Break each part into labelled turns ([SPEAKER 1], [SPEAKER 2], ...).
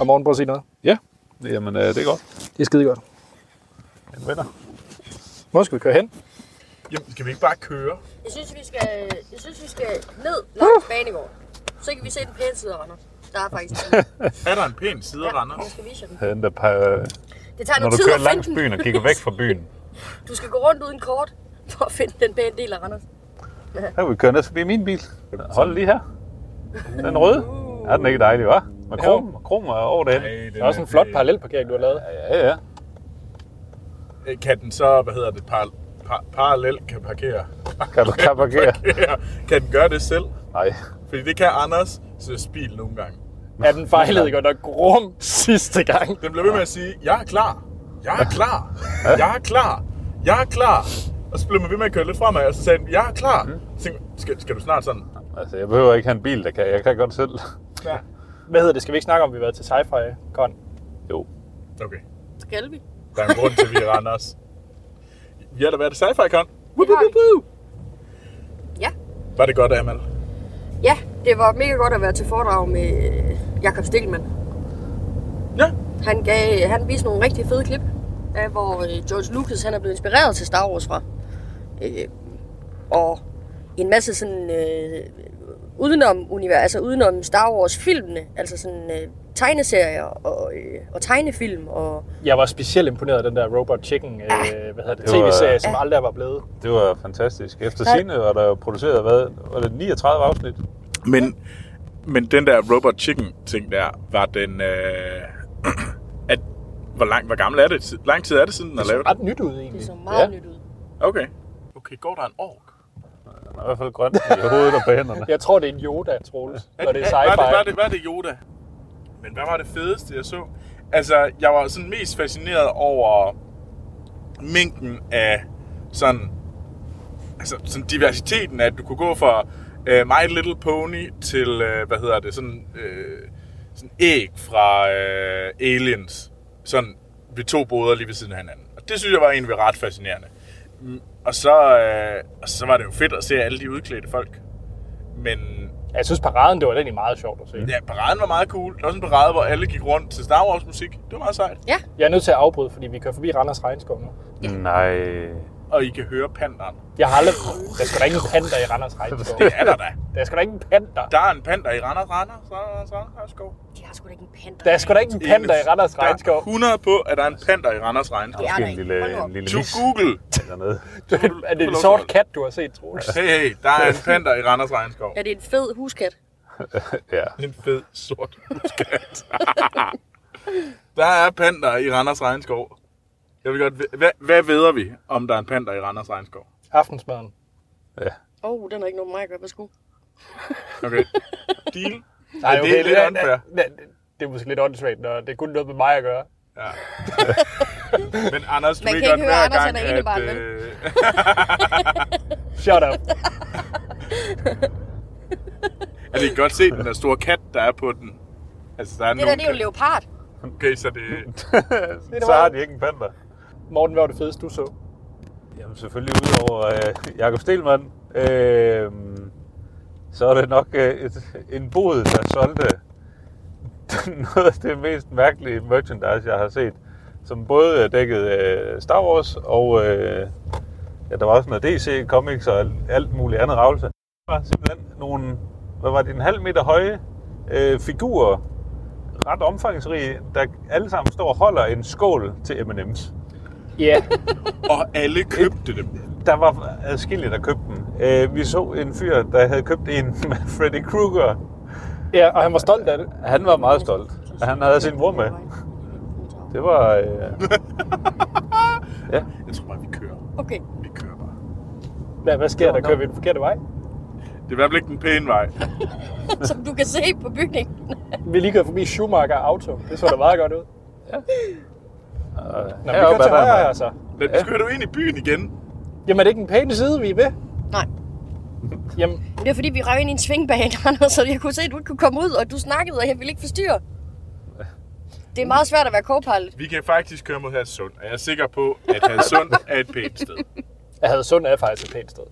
[SPEAKER 1] Og morgen prøv at se noget.
[SPEAKER 2] Ja, jamen øh, det er godt.
[SPEAKER 1] Det er skide godt.
[SPEAKER 2] En venner.
[SPEAKER 1] Hvor skal vi køre hen?
[SPEAKER 2] Jamen, skal vi ikke bare køre?
[SPEAKER 3] Jeg synes, vi skal, jeg synes, vi skal ned langs Banegård. Så kan vi se den pæne side af Randers. Der er faktisk en.
[SPEAKER 4] Er der en pæn side af Randers?
[SPEAKER 3] Jeg skal vise jer den.
[SPEAKER 2] Den der par, øh,
[SPEAKER 3] Det tager
[SPEAKER 2] når
[SPEAKER 3] noget
[SPEAKER 2] du
[SPEAKER 3] tid
[SPEAKER 2] kører
[SPEAKER 3] at finde
[SPEAKER 2] langs
[SPEAKER 3] den.
[SPEAKER 2] byen og kigger væk fra byen.
[SPEAKER 3] Du skal gå rundt uden kort for at finde den pæne del af Randers.
[SPEAKER 2] Her vil vi køre ned forbi min bil. Hold lige her. Den røde. Er den ikke dejlig, hva'? Med krum, og krum og over det hele.
[SPEAKER 1] Det er også en flot parallelparkering, du har lavet.
[SPEAKER 2] Ja, ja, ja.
[SPEAKER 4] Kan den så, hvad hedder det, par, par, parallel kan parkere?
[SPEAKER 2] Kan du kan parkere?
[SPEAKER 4] kan den gøre det selv?
[SPEAKER 2] Nej.
[SPEAKER 4] Fordi det kan Anders så bil nogle gange.
[SPEAKER 1] Ja, den fejlede godt nok grum sidste gang.
[SPEAKER 4] Den bliver ved med at sige, jeg er klar, jeg er klar, jeg er klar, jeg er klar. Og så blev man ved med at køre lidt fremad, og så sagde den, jeg er klar. Så tænkte, jeg, skal, skal du snart sådan?
[SPEAKER 2] Altså, jeg behøver ikke have en bil, der kan. Jeg kan godt selv.
[SPEAKER 4] Ja.
[SPEAKER 1] Hvad hedder det? Skal vi ikke snakke om, at vi har været til sci-fi con?
[SPEAKER 2] Jo.
[SPEAKER 4] Okay,
[SPEAKER 3] Skal vi?
[SPEAKER 4] der er en grund til, at vi er Anders. Vi har da været til sci-fi con.
[SPEAKER 3] Ja.
[SPEAKER 4] Var det godt, Amal?
[SPEAKER 3] Ja, det var mega godt at være til foredrag med øh, Jakob Stilman.
[SPEAKER 4] Ja.
[SPEAKER 3] Han, gav, han viste nogle rigtig fede klip, af, hvor øh, George Lucas han er blevet inspireret til Star Wars fra. Øh, og en masse sådan øh, udenom univers, altså udenom Star Wars filmene, altså sådan øh, tegneserier og, øh, og tegnefilm og
[SPEAKER 1] Jeg var specielt imponeret af den der Robot Chicken, øh, hvad hedder det,
[SPEAKER 2] Det var-
[SPEAKER 1] tv-serie, som aldrig var blevet.
[SPEAKER 2] Det var fantastisk. Efter sine var der jo produceret, hvad, var det 39 afsnit?
[SPEAKER 4] Men, men den der Robot Chicken ting der, var den... Øh, at, hvor, lang, hvor gammel er det? Lang tid er det siden, den er lavet?
[SPEAKER 1] Ret nyt ud,
[SPEAKER 3] det
[SPEAKER 1] egentlig.
[SPEAKER 3] så meget
[SPEAKER 2] Mm. Ja.
[SPEAKER 3] ja. nyt ud.
[SPEAKER 4] Okay. Okay, går der en ork?
[SPEAKER 2] Den er i hvert fald grøn i hovedet og på hænderne.
[SPEAKER 1] Jeg tror, det er en Yoda, Troels, når det er
[SPEAKER 4] Hvad er det, hvad er
[SPEAKER 1] sci-fi.
[SPEAKER 4] det, hvad er det Yoda? Men hvad var det fedeste, jeg så? Altså, jeg var sådan mest fascineret over mængden af sådan, altså sådan diversiteten, at du kunne gå fra uh, My Little Pony til, uh, hvad hedder det, sådan, uh, sådan æg fra uh, Aliens, sådan ved to boder lige ved siden af hinanden. Og det synes jeg var egentlig ret fascinerende. Mm, Og så, uh, og så var det jo fedt at se alle de udklædte folk. Men
[SPEAKER 1] Jeg synes, paraden, det var egentlig meget sjovt at se.
[SPEAKER 4] Ja, paraden var meget cool. Der var sådan en parade, hvor alle gik rundt til Star Wars musik. Det var meget sejt.
[SPEAKER 3] Ja,
[SPEAKER 1] Jeg er nødt til at afbryde, fordi vi kører forbi Randers Regnskov nu.
[SPEAKER 2] Nej.
[SPEAKER 4] Og I kan høre panderen.
[SPEAKER 1] Jeg har aldrig... Der skal da ikke en panda i Randers Regnskov.
[SPEAKER 4] Det er der da.
[SPEAKER 1] Der skal da ikke en panda.
[SPEAKER 4] Der er en panter i Randers, Randers, Randers, Randers, Skov.
[SPEAKER 3] de har sgu da ikke en altså. panda.
[SPEAKER 1] Der er sgu da ikke en panda i Randers
[SPEAKER 4] Der er
[SPEAKER 1] Regnskov.
[SPEAKER 4] 100 på, at der er en panter i Randers Regnskov.
[SPEAKER 3] Ja.
[SPEAKER 2] Måske en lille, en lille
[SPEAKER 4] To
[SPEAKER 2] mis
[SPEAKER 4] Google.
[SPEAKER 2] dernede.
[SPEAKER 1] Er det en sort kat, du har set, Troels?
[SPEAKER 4] Hey, hey, der er en panter i Randers Regnskov.
[SPEAKER 3] Er det en fed huskat?
[SPEAKER 2] Ja.
[SPEAKER 4] En fed, sort muskat. der er panter i Randers Regnskov. Jeg vil godt... Hvad, hvad ved vi, om der er en panter i Randers Regnskov?
[SPEAKER 1] Aftensmaden.
[SPEAKER 2] ja.
[SPEAKER 3] Åh, oh, den har ikke noget med mig at gøre. Værsgo.
[SPEAKER 4] Okay. Deal.
[SPEAKER 1] Nej,
[SPEAKER 4] det er lidt
[SPEAKER 1] det-
[SPEAKER 4] unfair.
[SPEAKER 1] det- det- Det er måske lidt åndssvagt, når det er kun noget med mig at gøre.
[SPEAKER 4] Ja. Men Anders, du
[SPEAKER 3] Man
[SPEAKER 4] ved
[SPEAKER 3] kan
[SPEAKER 4] godt
[SPEAKER 3] ikke høre,
[SPEAKER 4] hver
[SPEAKER 3] Anders, han
[SPEAKER 4] gang,
[SPEAKER 3] er enebarn,
[SPEAKER 4] at...
[SPEAKER 3] vel?
[SPEAKER 4] Øh,
[SPEAKER 1] Shut up.
[SPEAKER 4] er det godt set, den der store kat, der er på den? Altså, der er
[SPEAKER 3] Det der, det er jo en leopard.
[SPEAKER 4] Okay, så det...
[SPEAKER 2] Så har de ikke en panda.
[SPEAKER 1] Morten, hvad var det fedeste, du så?
[SPEAKER 2] Jamen selvfølgelig udover øh, Jakob Stelmann, øh, så er det nok øh, et, en bod, der solgte noget af det mest mærkelige merchandise, jeg har set, som både dækkede øh, Star Wars og øh, ja, der var også noget DC Comics og alt muligt andet ravelse. Der var simpelthen nogle, hvad var det, en halv meter høje øh, figurer, ret omfangsrige, der alle sammen står og holder en skål til M&M's.
[SPEAKER 1] Ja,
[SPEAKER 4] Og alle købte dem.
[SPEAKER 2] Der var adskillige, der købte dem. Øh, vi så en fyr, der havde købt en med Freddy Krueger.
[SPEAKER 1] ja, og han var stolt af det.
[SPEAKER 2] Han var meget stolt. Han havde sin mor med. Det var... Øh... ja.
[SPEAKER 4] Jeg tror bare, vi kører.
[SPEAKER 3] Okay.
[SPEAKER 4] Vi kører bare.
[SPEAKER 1] Hvad, hvad sker der? Kører vi den forkerte vej?
[SPEAKER 4] Det er i hvert fald ikke den pæne vej.
[SPEAKER 3] Som du kan se på bygningen.
[SPEAKER 1] Vi er lige kørt forbi Schumacher Auto. Det så da meget godt ud.
[SPEAKER 2] Og
[SPEAKER 1] Nå, men vi kører til højre her, så.
[SPEAKER 4] Men ja. kører du ind i byen igen?
[SPEAKER 1] Jamen, er det ikke en pæn side, vi er ved?
[SPEAKER 3] Nej.
[SPEAKER 1] Jamen,
[SPEAKER 3] Men det er fordi, vi rev ind i en svingbane, Anders, så jeg kunne se, at du ikke kunne komme ud, og du snakkede, og jeg ville ikke forstyrre. Det er meget svært at være co-pilot.
[SPEAKER 4] Vi kan faktisk køre mod Hadsund, og jeg er sikker på, at Hadsund er et pænt sted.
[SPEAKER 1] jeg havde sund er faktisk et pænt sted.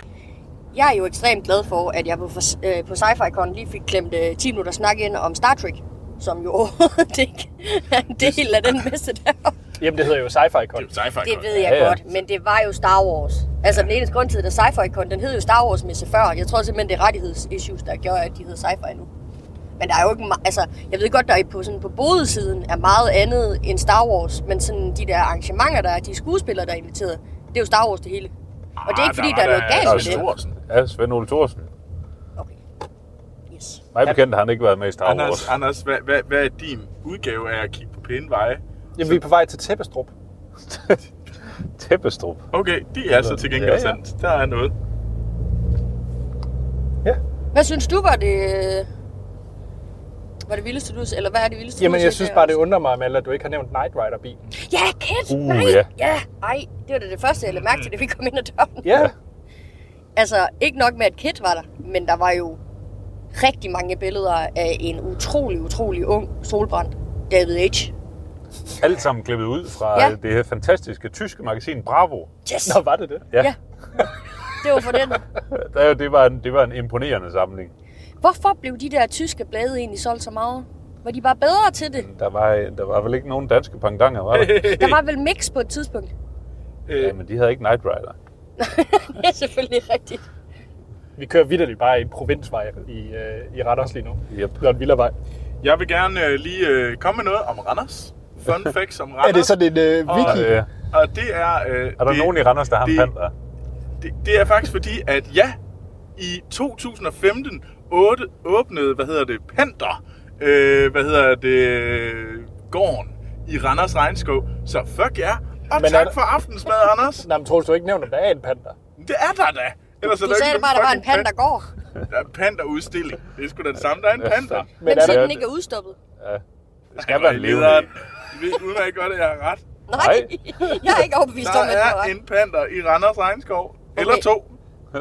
[SPEAKER 3] Jeg er jo ekstremt glad for, at jeg på, øh, på Sci-Fi Con lige fik klemt øh, 10 minutter snak ind om Star Trek. som jo overhovedet ikke er en del af den messe der.
[SPEAKER 1] Jamen, det hedder jo sci-fi
[SPEAKER 4] Det er
[SPEAKER 1] con.
[SPEAKER 4] jo sci-fi
[SPEAKER 3] Det
[SPEAKER 4] godt.
[SPEAKER 3] ved jeg
[SPEAKER 2] Ja, ja.
[SPEAKER 3] godt, men det var jo Star Wars. Altså den eneste grund til, at det er sci-fi con, den hed jo Star Wars messe før. Jeg tror simpelthen, det er rettighedsissues, der gjorde, at de hed sci-fi nu. Men der er jo ikke ma- altså, jeg ved godt, der er på, sådan, på bodesiden er meget andet end Star Wars, men sådan de der arrangementer, der er, de skuespillere, der er inviteret, det er jo Star Wars det hele. Og det er ikke, fordi der, er noget
[SPEAKER 2] der
[SPEAKER 3] galt
[SPEAKER 2] er
[SPEAKER 3] med det.
[SPEAKER 2] stor-
[SPEAKER 4] Thorsen.
[SPEAKER 2] Ja, Svend Ole Thorsen.
[SPEAKER 3] Okay. Yes.
[SPEAKER 2] Mig bekendt har han ikke været med i Star Wars.
[SPEAKER 4] Anders, Anders hvad, hvad, hvad er din udgave af at kigge på pæne veje?
[SPEAKER 1] Jamen, vi er på vej til Tæppestrup.
[SPEAKER 2] Tæppestrup.
[SPEAKER 4] Okay, det er så til gengæld
[SPEAKER 2] Ja,
[SPEAKER 4] ja,
[SPEAKER 2] ja.
[SPEAKER 4] ja. sandt. Der er noget.
[SPEAKER 3] Hvad synes du var det, var det vildeste, du Eller hvad er det vildeste,
[SPEAKER 1] Jamen,
[SPEAKER 3] du
[SPEAKER 1] jeg synes bare, det undrer mig, Malte, at du ikke har nævnt Night Rider-bilen.
[SPEAKER 3] Ja, kæft,
[SPEAKER 2] Uh,
[SPEAKER 3] nej.
[SPEAKER 2] ja.
[SPEAKER 3] ja. Ej, det var da det første, jeg lagde mærke til, da vi kom ind ad døren.
[SPEAKER 1] Ja.
[SPEAKER 3] Altså, ikke nok med, at Kit var der, men der var jo rigtig mange billeder af en utrolig, utrolig ung solbrændt David H.
[SPEAKER 2] Alt sammen klippet ud fra
[SPEAKER 3] Ja.
[SPEAKER 2] ja. det her fantastiske tyske magasin Bravo.
[SPEAKER 3] Yes,
[SPEAKER 1] Nå, var det det?
[SPEAKER 2] Ja,
[SPEAKER 3] Ja.
[SPEAKER 2] ja.
[SPEAKER 3] det var for den.
[SPEAKER 2] Der, det, var en, det var en imponerende samling.
[SPEAKER 3] Hvorfor blev de der tyske blade egentlig solgt så meget? Var de bare bedre til det?
[SPEAKER 2] Der var, øh, der var vel ikke nogen danske pangdanger, var der?
[SPEAKER 3] Der var vel mix på et tidspunkt?
[SPEAKER 4] Øh,
[SPEAKER 2] ja, men de havde ikke Knight Rider.
[SPEAKER 3] det er selvfølgelig rigtigt.
[SPEAKER 1] Vi kører vidderligt bare i en provinsvej i, øh, i Randers lige nu.
[SPEAKER 2] Yep.
[SPEAKER 1] Det er en vildervej.
[SPEAKER 4] jeg vil gerne øh, lige øh, komme med noget om Randers. Fun facts om Randers.
[SPEAKER 1] Er det sådan en øh,
[SPEAKER 4] Og-
[SPEAKER 1] wiki?
[SPEAKER 2] Øh,
[SPEAKER 4] Og det er... Øh,
[SPEAKER 2] er der
[SPEAKER 4] det,
[SPEAKER 2] nogen i Randers, der har en
[SPEAKER 4] det-
[SPEAKER 2] panter?
[SPEAKER 4] Det, det er faktisk fordi, at ja, i 2015 8, åbnede, hvad hedder det, Penter, øh, hvad hedder det, øh, gården i Randers Regnskov. Så fuck jer. Yeah. Og
[SPEAKER 1] Men
[SPEAKER 4] Men
[SPEAKER 1] er
[SPEAKER 4] tak
[SPEAKER 1] der-
[SPEAKER 4] for aftensmad, Anders.
[SPEAKER 1] Nej, men Troels, du har ikke nævnt, om der er en panda.
[SPEAKER 4] Det er der da. Ellers er
[SPEAKER 3] Du
[SPEAKER 4] ikke
[SPEAKER 3] sagde det
[SPEAKER 4] nogen
[SPEAKER 3] bare, at der var en
[SPEAKER 4] fucking
[SPEAKER 3] pand, der går.
[SPEAKER 4] pan- Der er en panderudstilling. Det er sgu da det samme. Der er en panda.
[SPEAKER 1] Men
[SPEAKER 3] Men
[SPEAKER 1] er
[SPEAKER 3] så
[SPEAKER 1] der-
[SPEAKER 3] den ikke er udstoppet.
[SPEAKER 2] Det skal være en
[SPEAKER 4] Lederen.
[SPEAKER 2] levende.
[SPEAKER 4] I ved udmærket godt, at jeg har ret.
[SPEAKER 3] Nej, jeg er ikke overbevist om,
[SPEAKER 4] Der
[SPEAKER 3] at det
[SPEAKER 4] er
[SPEAKER 3] var.
[SPEAKER 4] en panda i Randers Regnskov. Eller
[SPEAKER 3] Okay.
[SPEAKER 4] to.
[SPEAKER 3] Vi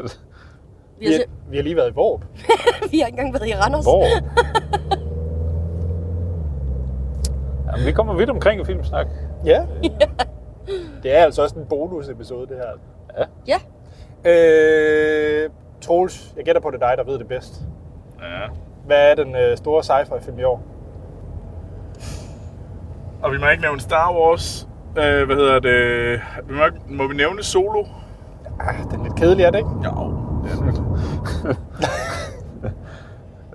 [SPEAKER 1] Vi,
[SPEAKER 3] har,
[SPEAKER 1] er, vi har lige været i Vårup.
[SPEAKER 3] se- vi har ikke engang været i Randers.
[SPEAKER 2] Hvor? Jamen, vi kommer vidt omkring i Filmsnak.
[SPEAKER 1] Ja. det er altså også en bonusepisode, det her.
[SPEAKER 3] Ja,
[SPEAKER 1] Øh, Troels, jeg gætter på, det er dig, der ved det bedst.
[SPEAKER 4] Ja.
[SPEAKER 1] Hvad er den øh, store sci-fi-film i år?
[SPEAKER 4] Og vi må ikke nævne Star Wars. Øh, hvad hedder det? Vi må, ikke, må vi nævne Solo?
[SPEAKER 1] Ah, den er lidt kedelig, er det ikke?
[SPEAKER 4] Ja.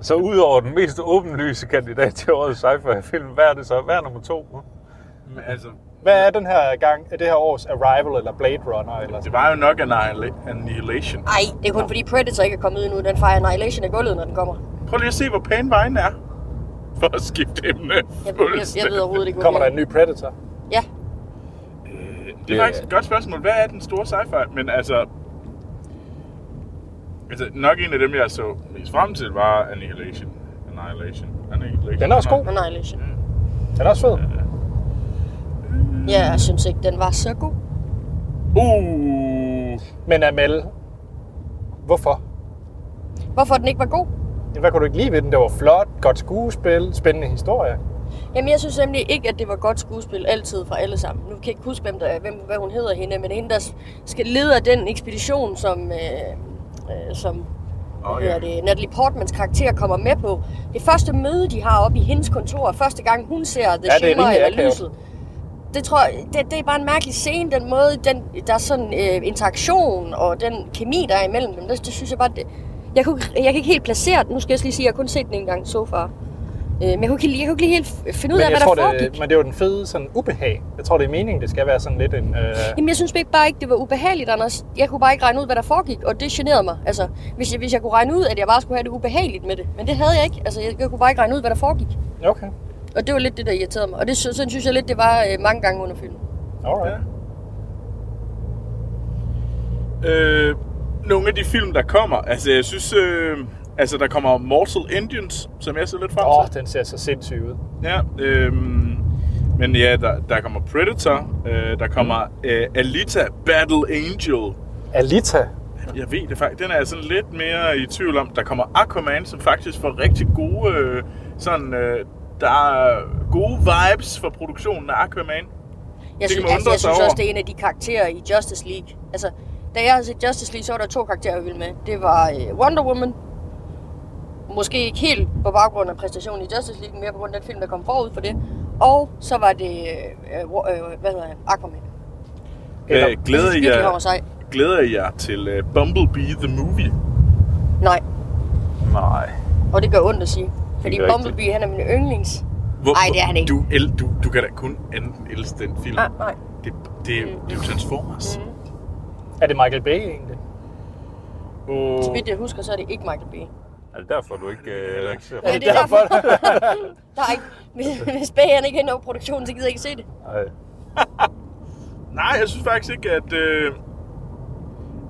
[SPEAKER 2] Så udover den mest åbenlyse kandidat til årets sci-fi-film, hvad er det så? Hvad er nummer to?
[SPEAKER 4] Men altså,
[SPEAKER 1] Hvad er den her gang, er det her års Arrival eller Blade Runner? Eller
[SPEAKER 4] det
[SPEAKER 1] sådan?
[SPEAKER 4] var jo nok Annihila- Annihilation.
[SPEAKER 3] nej, det er kun fordi Predator ikke er kommet ud nu. Den fejrer Annihilation af gulvet, når den kommer.
[SPEAKER 4] Prøv lige at se, hvor pæn vejen er. For at skifte emne.
[SPEAKER 3] Jeg, ved- jeg, jeg ved overhovedet ikke, hvor
[SPEAKER 1] Kommer der en
[SPEAKER 3] vi
[SPEAKER 1] ny Predator?
[SPEAKER 3] er. Ja,
[SPEAKER 4] Øh, Det er faktisk et godt spørgsmål. Hvad er den store sci-fi? Men altså... Altså, nok en af dem, jeg så mest frem til, var Annihilation. Annihilation. Annihilation.
[SPEAKER 1] Den er også god.
[SPEAKER 3] Annihilation.
[SPEAKER 1] Den er også fed.
[SPEAKER 4] Mm.
[SPEAKER 3] Ja, jeg synes ikke, den var så god.
[SPEAKER 4] Uh!
[SPEAKER 1] Men Amal, hvorfor?
[SPEAKER 3] Hvorfor den ikke var god?
[SPEAKER 1] Hvad kunne du ikke lide ved den? Det var flot, godt skuespil, spændende historie.
[SPEAKER 3] Jamen, jeg synes nemlig ikke, at det var godt skuespil altid fra alle sammen. Nu kan jeg ikke huske, hvem der, er- hvem, hvad hun hedder hende, men hende, der s- skal lede af den ekspedition, som, øh, øh, som
[SPEAKER 4] Åh,
[SPEAKER 3] oh,
[SPEAKER 4] ja.
[SPEAKER 3] ja. det, Natalie Portmans karakter kommer med på. Det første møde, de har oppe i hendes kontor, er første gang hun ser The
[SPEAKER 1] Ja, det er
[SPEAKER 3] Shimmer
[SPEAKER 1] rimelig
[SPEAKER 3] eller
[SPEAKER 1] akavet.
[SPEAKER 3] lyset. Det, tror jeg, det, det er bare en mærkelig scene, den måde, den, der er sådan øh, interaktion og den kemi, der er imellem dem. Det, det synes jeg bare, det, jeg, kunne, ikke- jeg kan ikke helt placere den. Nu skal jeg også lige sige, at jeg har kun set den en gang så far. Øh, men jeg kunne, ikke, lige- jeg kunne ikke lige helt f- finde ud
[SPEAKER 1] Men
[SPEAKER 3] af,
[SPEAKER 1] jeg
[SPEAKER 3] hvad
[SPEAKER 1] tror,
[SPEAKER 3] der foregik.
[SPEAKER 1] det, men det er jo den fede sådan, ubehag. Jeg tror, det er meningen, det skal være sådan lidt en... Øh,
[SPEAKER 3] Jamen, jeg synes bare ikke, det var ubehageligt, Anders. Jeg kunne bare ikke regne ud, hvad der foregik, og det generede mig. Altså, hvis jeg, hvis jeg kunne regne ud, at jeg bare skulle have det ubehageligt med det. Men det havde jeg ikke. Altså, jeg, jeg kunne bare ikke regne ud, hvad der foregik.
[SPEAKER 1] okay,
[SPEAKER 3] Og det var lidt det, der irriterede mig. Og det, sy- sådan synes jeg lidt, det var øh, mange gange under filmen.
[SPEAKER 1] alright.
[SPEAKER 4] Øh, nogle af de film, der kommer. Altså, jeg synes... Øh, altså, der kommer Mortal Engines, som jeg ser lidt frem
[SPEAKER 1] Åh,
[SPEAKER 4] til.
[SPEAKER 1] oh, den ser så sindssyg ud.
[SPEAKER 4] Ja, øhm, men ja, der, der kommer Predator, øh, der kommer øh, Alita Battle Angel.
[SPEAKER 1] Alita.
[SPEAKER 4] Jeg ved det faktisk, den er jeg sådan lidt mere i tvivl om. Der kommer Aquaman, som faktisk får rigtig gode, øh, sådan, øh, der er gode vibes for produktionen af Aquaman.
[SPEAKER 3] Jeg
[SPEAKER 4] Det kan
[SPEAKER 3] synes,
[SPEAKER 4] man
[SPEAKER 3] altså,
[SPEAKER 4] undre sig
[SPEAKER 3] jeg synes
[SPEAKER 4] over.
[SPEAKER 3] også, det er en af de karakterer i Justice League. Altså, da jeg har set Justice League, så var der to karakterer, jeg ville med. Det var øh, Wonder Woman, Måske ikke helt på baggrund af præstationen i Justice League, men mere på grund af den film, der kom forud for det. Og så var det, øh, øh, øh, hvad hedder han, Aquaman.
[SPEAKER 4] Øh,
[SPEAKER 3] Jeg synes
[SPEAKER 4] glæder I
[SPEAKER 3] virkelig,
[SPEAKER 4] jer-
[SPEAKER 3] han var sej.
[SPEAKER 4] Glæder I jer til uh, Bumblebee the Movie?
[SPEAKER 3] Nej,
[SPEAKER 2] Nej.
[SPEAKER 3] og det gør ondt at sige. Fordi
[SPEAKER 2] rigtigt.
[SPEAKER 3] Bumblebee, han er min yndlings.
[SPEAKER 4] Hvor,
[SPEAKER 3] Ej, det er han ikke. Ah.
[SPEAKER 4] Du, el, du, du kan da kun anden elske den film.
[SPEAKER 3] Nej, nej.
[SPEAKER 4] Det, det, mm. det er jo Transformers. Mm.
[SPEAKER 1] Er det Michael Bay egentlig?
[SPEAKER 4] Oh.
[SPEAKER 3] Så vidt jeg husker, så er det ikke Michael Bay.
[SPEAKER 2] Er det derfor, du ikke... Øh, ser
[SPEAKER 3] Ja,
[SPEAKER 2] på-
[SPEAKER 3] det er derfor. der er ikke, hvis, hvis Bay han ikke hænder over produktionen, så gider jeg ikke se det.
[SPEAKER 2] Nej.
[SPEAKER 4] Nej, jeg synes faktisk ikke, at... Øh,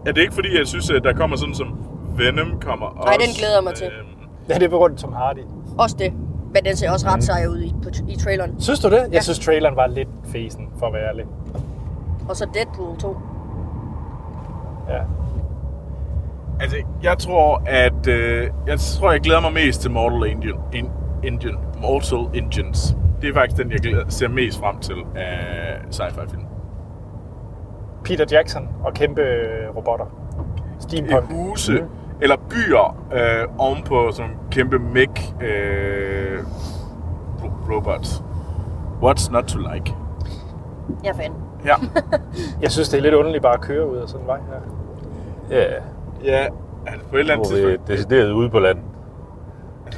[SPEAKER 4] at det er ikke fordi, jeg synes, at der kommer sådan som Venom kommer også.
[SPEAKER 3] Nej, den glæder jeg mig til.
[SPEAKER 4] Øhm,
[SPEAKER 1] Ja, det er på grund af Tom Hardy.
[SPEAKER 3] Også det. Men den ser også ret sej ud i, på, i traileren.
[SPEAKER 1] Synes du det? Jeg
[SPEAKER 3] Ja.
[SPEAKER 1] synes, traileren var lidt fesen, for at være ærlig.
[SPEAKER 3] Og så Deadpool 2.
[SPEAKER 1] Ja.
[SPEAKER 4] Altså, jeg tror, at... Øh, jeg tror, jeg glæder mig mest til Mortal Engine. In, Engine. Mortal Engines. Det er faktisk den, jeg glæder, ser mest frem til af sci-fi-film.
[SPEAKER 1] Peter Jackson og kæmpe øh, robotter. Steampunk.
[SPEAKER 4] Huse eller byer øh, ovenpå sådan nogle kæmpe mech øh, ro- robots. What's not to like?
[SPEAKER 3] Jeg er fan.
[SPEAKER 4] Ja.
[SPEAKER 1] Jeg synes, det er lidt underligt bare at køre ud af sådan en vej her.
[SPEAKER 2] Ja,
[SPEAKER 4] ja, altså på et eller andet
[SPEAKER 2] hvor vi er
[SPEAKER 4] tidspunkt.
[SPEAKER 2] decideret ude på landet.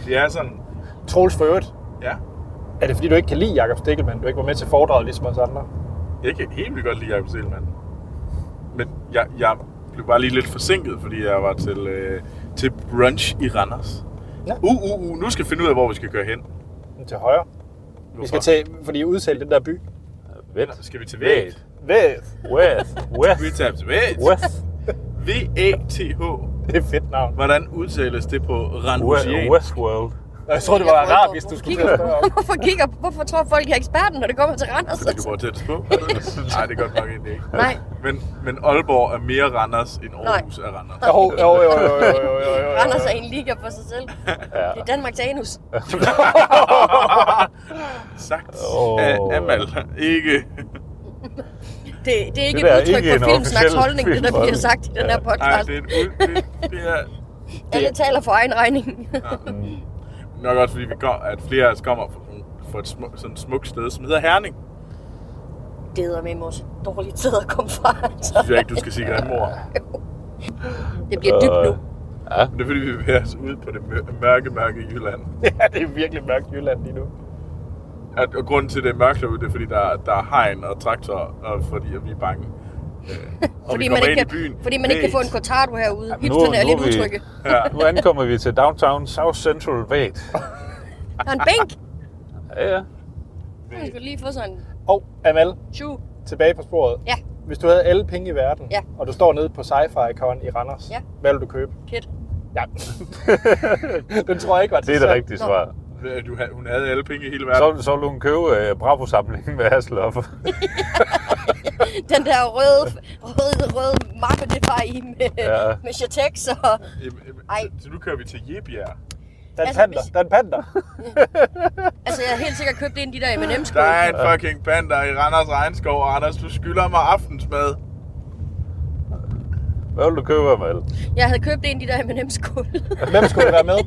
[SPEAKER 4] Det er sådan,
[SPEAKER 1] Troels for øvrigt.
[SPEAKER 4] ja.
[SPEAKER 1] Er det fordi, du ikke kan lide Jakob Stikkelmann? Du ikke var med til foredraget ligesom os andre?
[SPEAKER 4] Jeg kan helt vildt godt lide Jacob Stelmann. Men jeg, jeg blev bare lige lidt forsinket, fordi jeg var til, øh, til brunch i Randers.
[SPEAKER 1] Ja.
[SPEAKER 4] Ja. Uh, uh, uh, nu skal vi finde ud af, hvor vi skal køre hen.
[SPEAKER 1] Men Til højre. Hvorfor? Vi skal til, fordi I udtalte den der by.
[SPEAKER 2] Vent.
[SPEAKER 4] Så skal vi til Vægt.
[SPEAKER 1] Ved.
[SPEAKER 2] West.
[SPEAKER 4] Vi
[SPEAKER 2] West.
[SPEAKER 4] tager til Vægt.
[SPEAKER 2] West.
[SPEAKER 4] V-A-T-H.
[SPEAKER 1] Det er et fedt navn.
[SPEAKER 4] Hvordan udtales det på Randusian?
[SPEAKER 2] West. Westworld.
[SPEAKER 1] Og Jeg tror, det var arabisk, du skulle til at spørge om.
[SPEAKER 3] Hvorfor kigger, hvorfor tror folk, jeg er eksperten, når det kommer til Randers?
[SPEAKER 4] Fordi du bor tættest på? Nej, det er godt nok egentlig ikke.
[SPEAKER 3] Nej.
[SPEAKER 4] Men, men Aalborg er mere Randers, end Aarhus er Randers.
[SPEAKER 1] Jo, jo, jo, jo, jo, jo, jo, jo, jo.
[SPEAKER 3] Randers er en liga for sig selv.
[SPEAKER 2] Ja.
[SPEAKER 3] Det er Danmarks anus.
[SPEAKER 4] Sagt
[SPEAKER 2] Åh.
[SPEAKER 4] af Amal. Ikke.
[SPEAKER 3] Det, det er ikke
[SPEAKER 2] Det
[SPEAKER 3] det
[SPEAKER 2] der
[SPEAKER 3] et
[SPEAKER 2] er
[SPEAKER 3] udtryk
[SPEAKER 2] ikke en
[SPEAKER 3] for filmsnaks
[SPEAKER 2] officiel
[SPEAKER 3] holdning, det der bliver
[SPEAKER 2] filmholdning.
[SPEAKER 3] sagt i den her
[SPEAKER 4] Nej,
[SPEAKER 3] podcast.
[SPEAKER 4] det er en ud. Det, det er
[SPEAKER 3] Alle taler for egen regning.
[SPEAKER 4] nok også, fordi vi går, at flere af os kommer fra, fra et smuk, sådan et smukt sted, som hedder Herning.
[SPEAKER 3] det hedder med mors dårlige tid at komme fra. altså.
[SPEAKER 4] Det synes jeg ikke, du skal sige grimmor.
[SPEAKER 3] Det bliver dybt nu.
[SPEAKER 4] Øh, Men det er, fordi vi bevæger os ud på det mør- mørke, mørke Jylland.
[SPEAKER 1] Ja, det er virkelig mørkt Jylland lige nu.
[SPEAKER 4] At, og grunden til, at det er mørkt derude, det er, fordi der, der er hegn og traktor, og fordi at vi er bange. Øh, og vi
[SPEAKER 3] Fordi man,
[SPEAKER 4] kommer
[SPEAKER 3] ikke
[SPEAKER 4] ind
[SPEAKER 3] kan,
[SPEAKER 4] i byen.
[SPEAKER 3] fordi man ikke kan få en
[SPEAKER 4] Vægt.
[SPEAKER 3] cortado herude.
[SPEAKER 2] Jamen, nu-
[SPEAKER 3] Hipsterne er
[SPEAKER 2] nu
[SPEAKER 3] lidt
[SPEAKER 2] er vi-
[SPEAKER 3] utrygge.
[SPEAKER 4] Ja.
[SPEAKER 2] Nu ankommer vi til downtown South Central Wait.
[SPEAKER 3] Der er en bænk.
[SPEAKER 2] Ja, ja.
[SPEAKER 3] Man skulle lige få sådan en
[SPEAKER 1] Og Amal,
[SPEAKER 3] shoe.
[SPEAKER 1] tilbage på sporet.
[SPEAKER 3] Ja.
[SPEAKER 1] Hvis du havde alle penge i verden,
[SPEAKER 3] Ja.
[SPEAKER 1] og du står nede på Sci-Fi Con i Randers,
[SPEAKER 3] Ja.
[SPEAKER 1] hvad vil du købe?
[SPEAKER 3] Kit.
[SPEAKER 1] Ja. Den tror jeg ikke var
[SPEAKER 2] Det er det rigtige
[SPEAKER 3] Nå.
[SPEAKER 2] svar.
[SPEAKER 4] Du, ha- hun havde alle penge i hele verden.
[SPEAKER 2] Så, så ville hun købe øh, Bravo-samlingen med Hasselhoff.
[SPEAKER 3] Den der røde, røde, røde mappe, det var i med,
[SPEAKER 2] Ja.
[SPEAKER 3] ja. med Chatex og...
[SPEAKER 4] Em- em-
[SPEAKER 3] Ej.
[SPEAKER 4] Så, så nu kører vi til Jebjerg.
[SPEAKER 1] Den
[SPEAKER 3] Altså,
[SPEAKER 1] panter,
[SPEAKER 3] hvis-
[SPEAKER 1] den panter.
[SPEAKER 3] Altså, jeg har helt sikkert købt en af de der M&M's.
[SPEAKER 4] Der er en fucking panda i Randers Regnskov, og Anders, du skylder mig aftensmad.
[SPEAKER 2] Hvad vil du købe ham alle?
[SPEAKER 3] Jeg havde købt en af de der M&M's kugle.
[SPEAKER 1] Hvem skulle være med?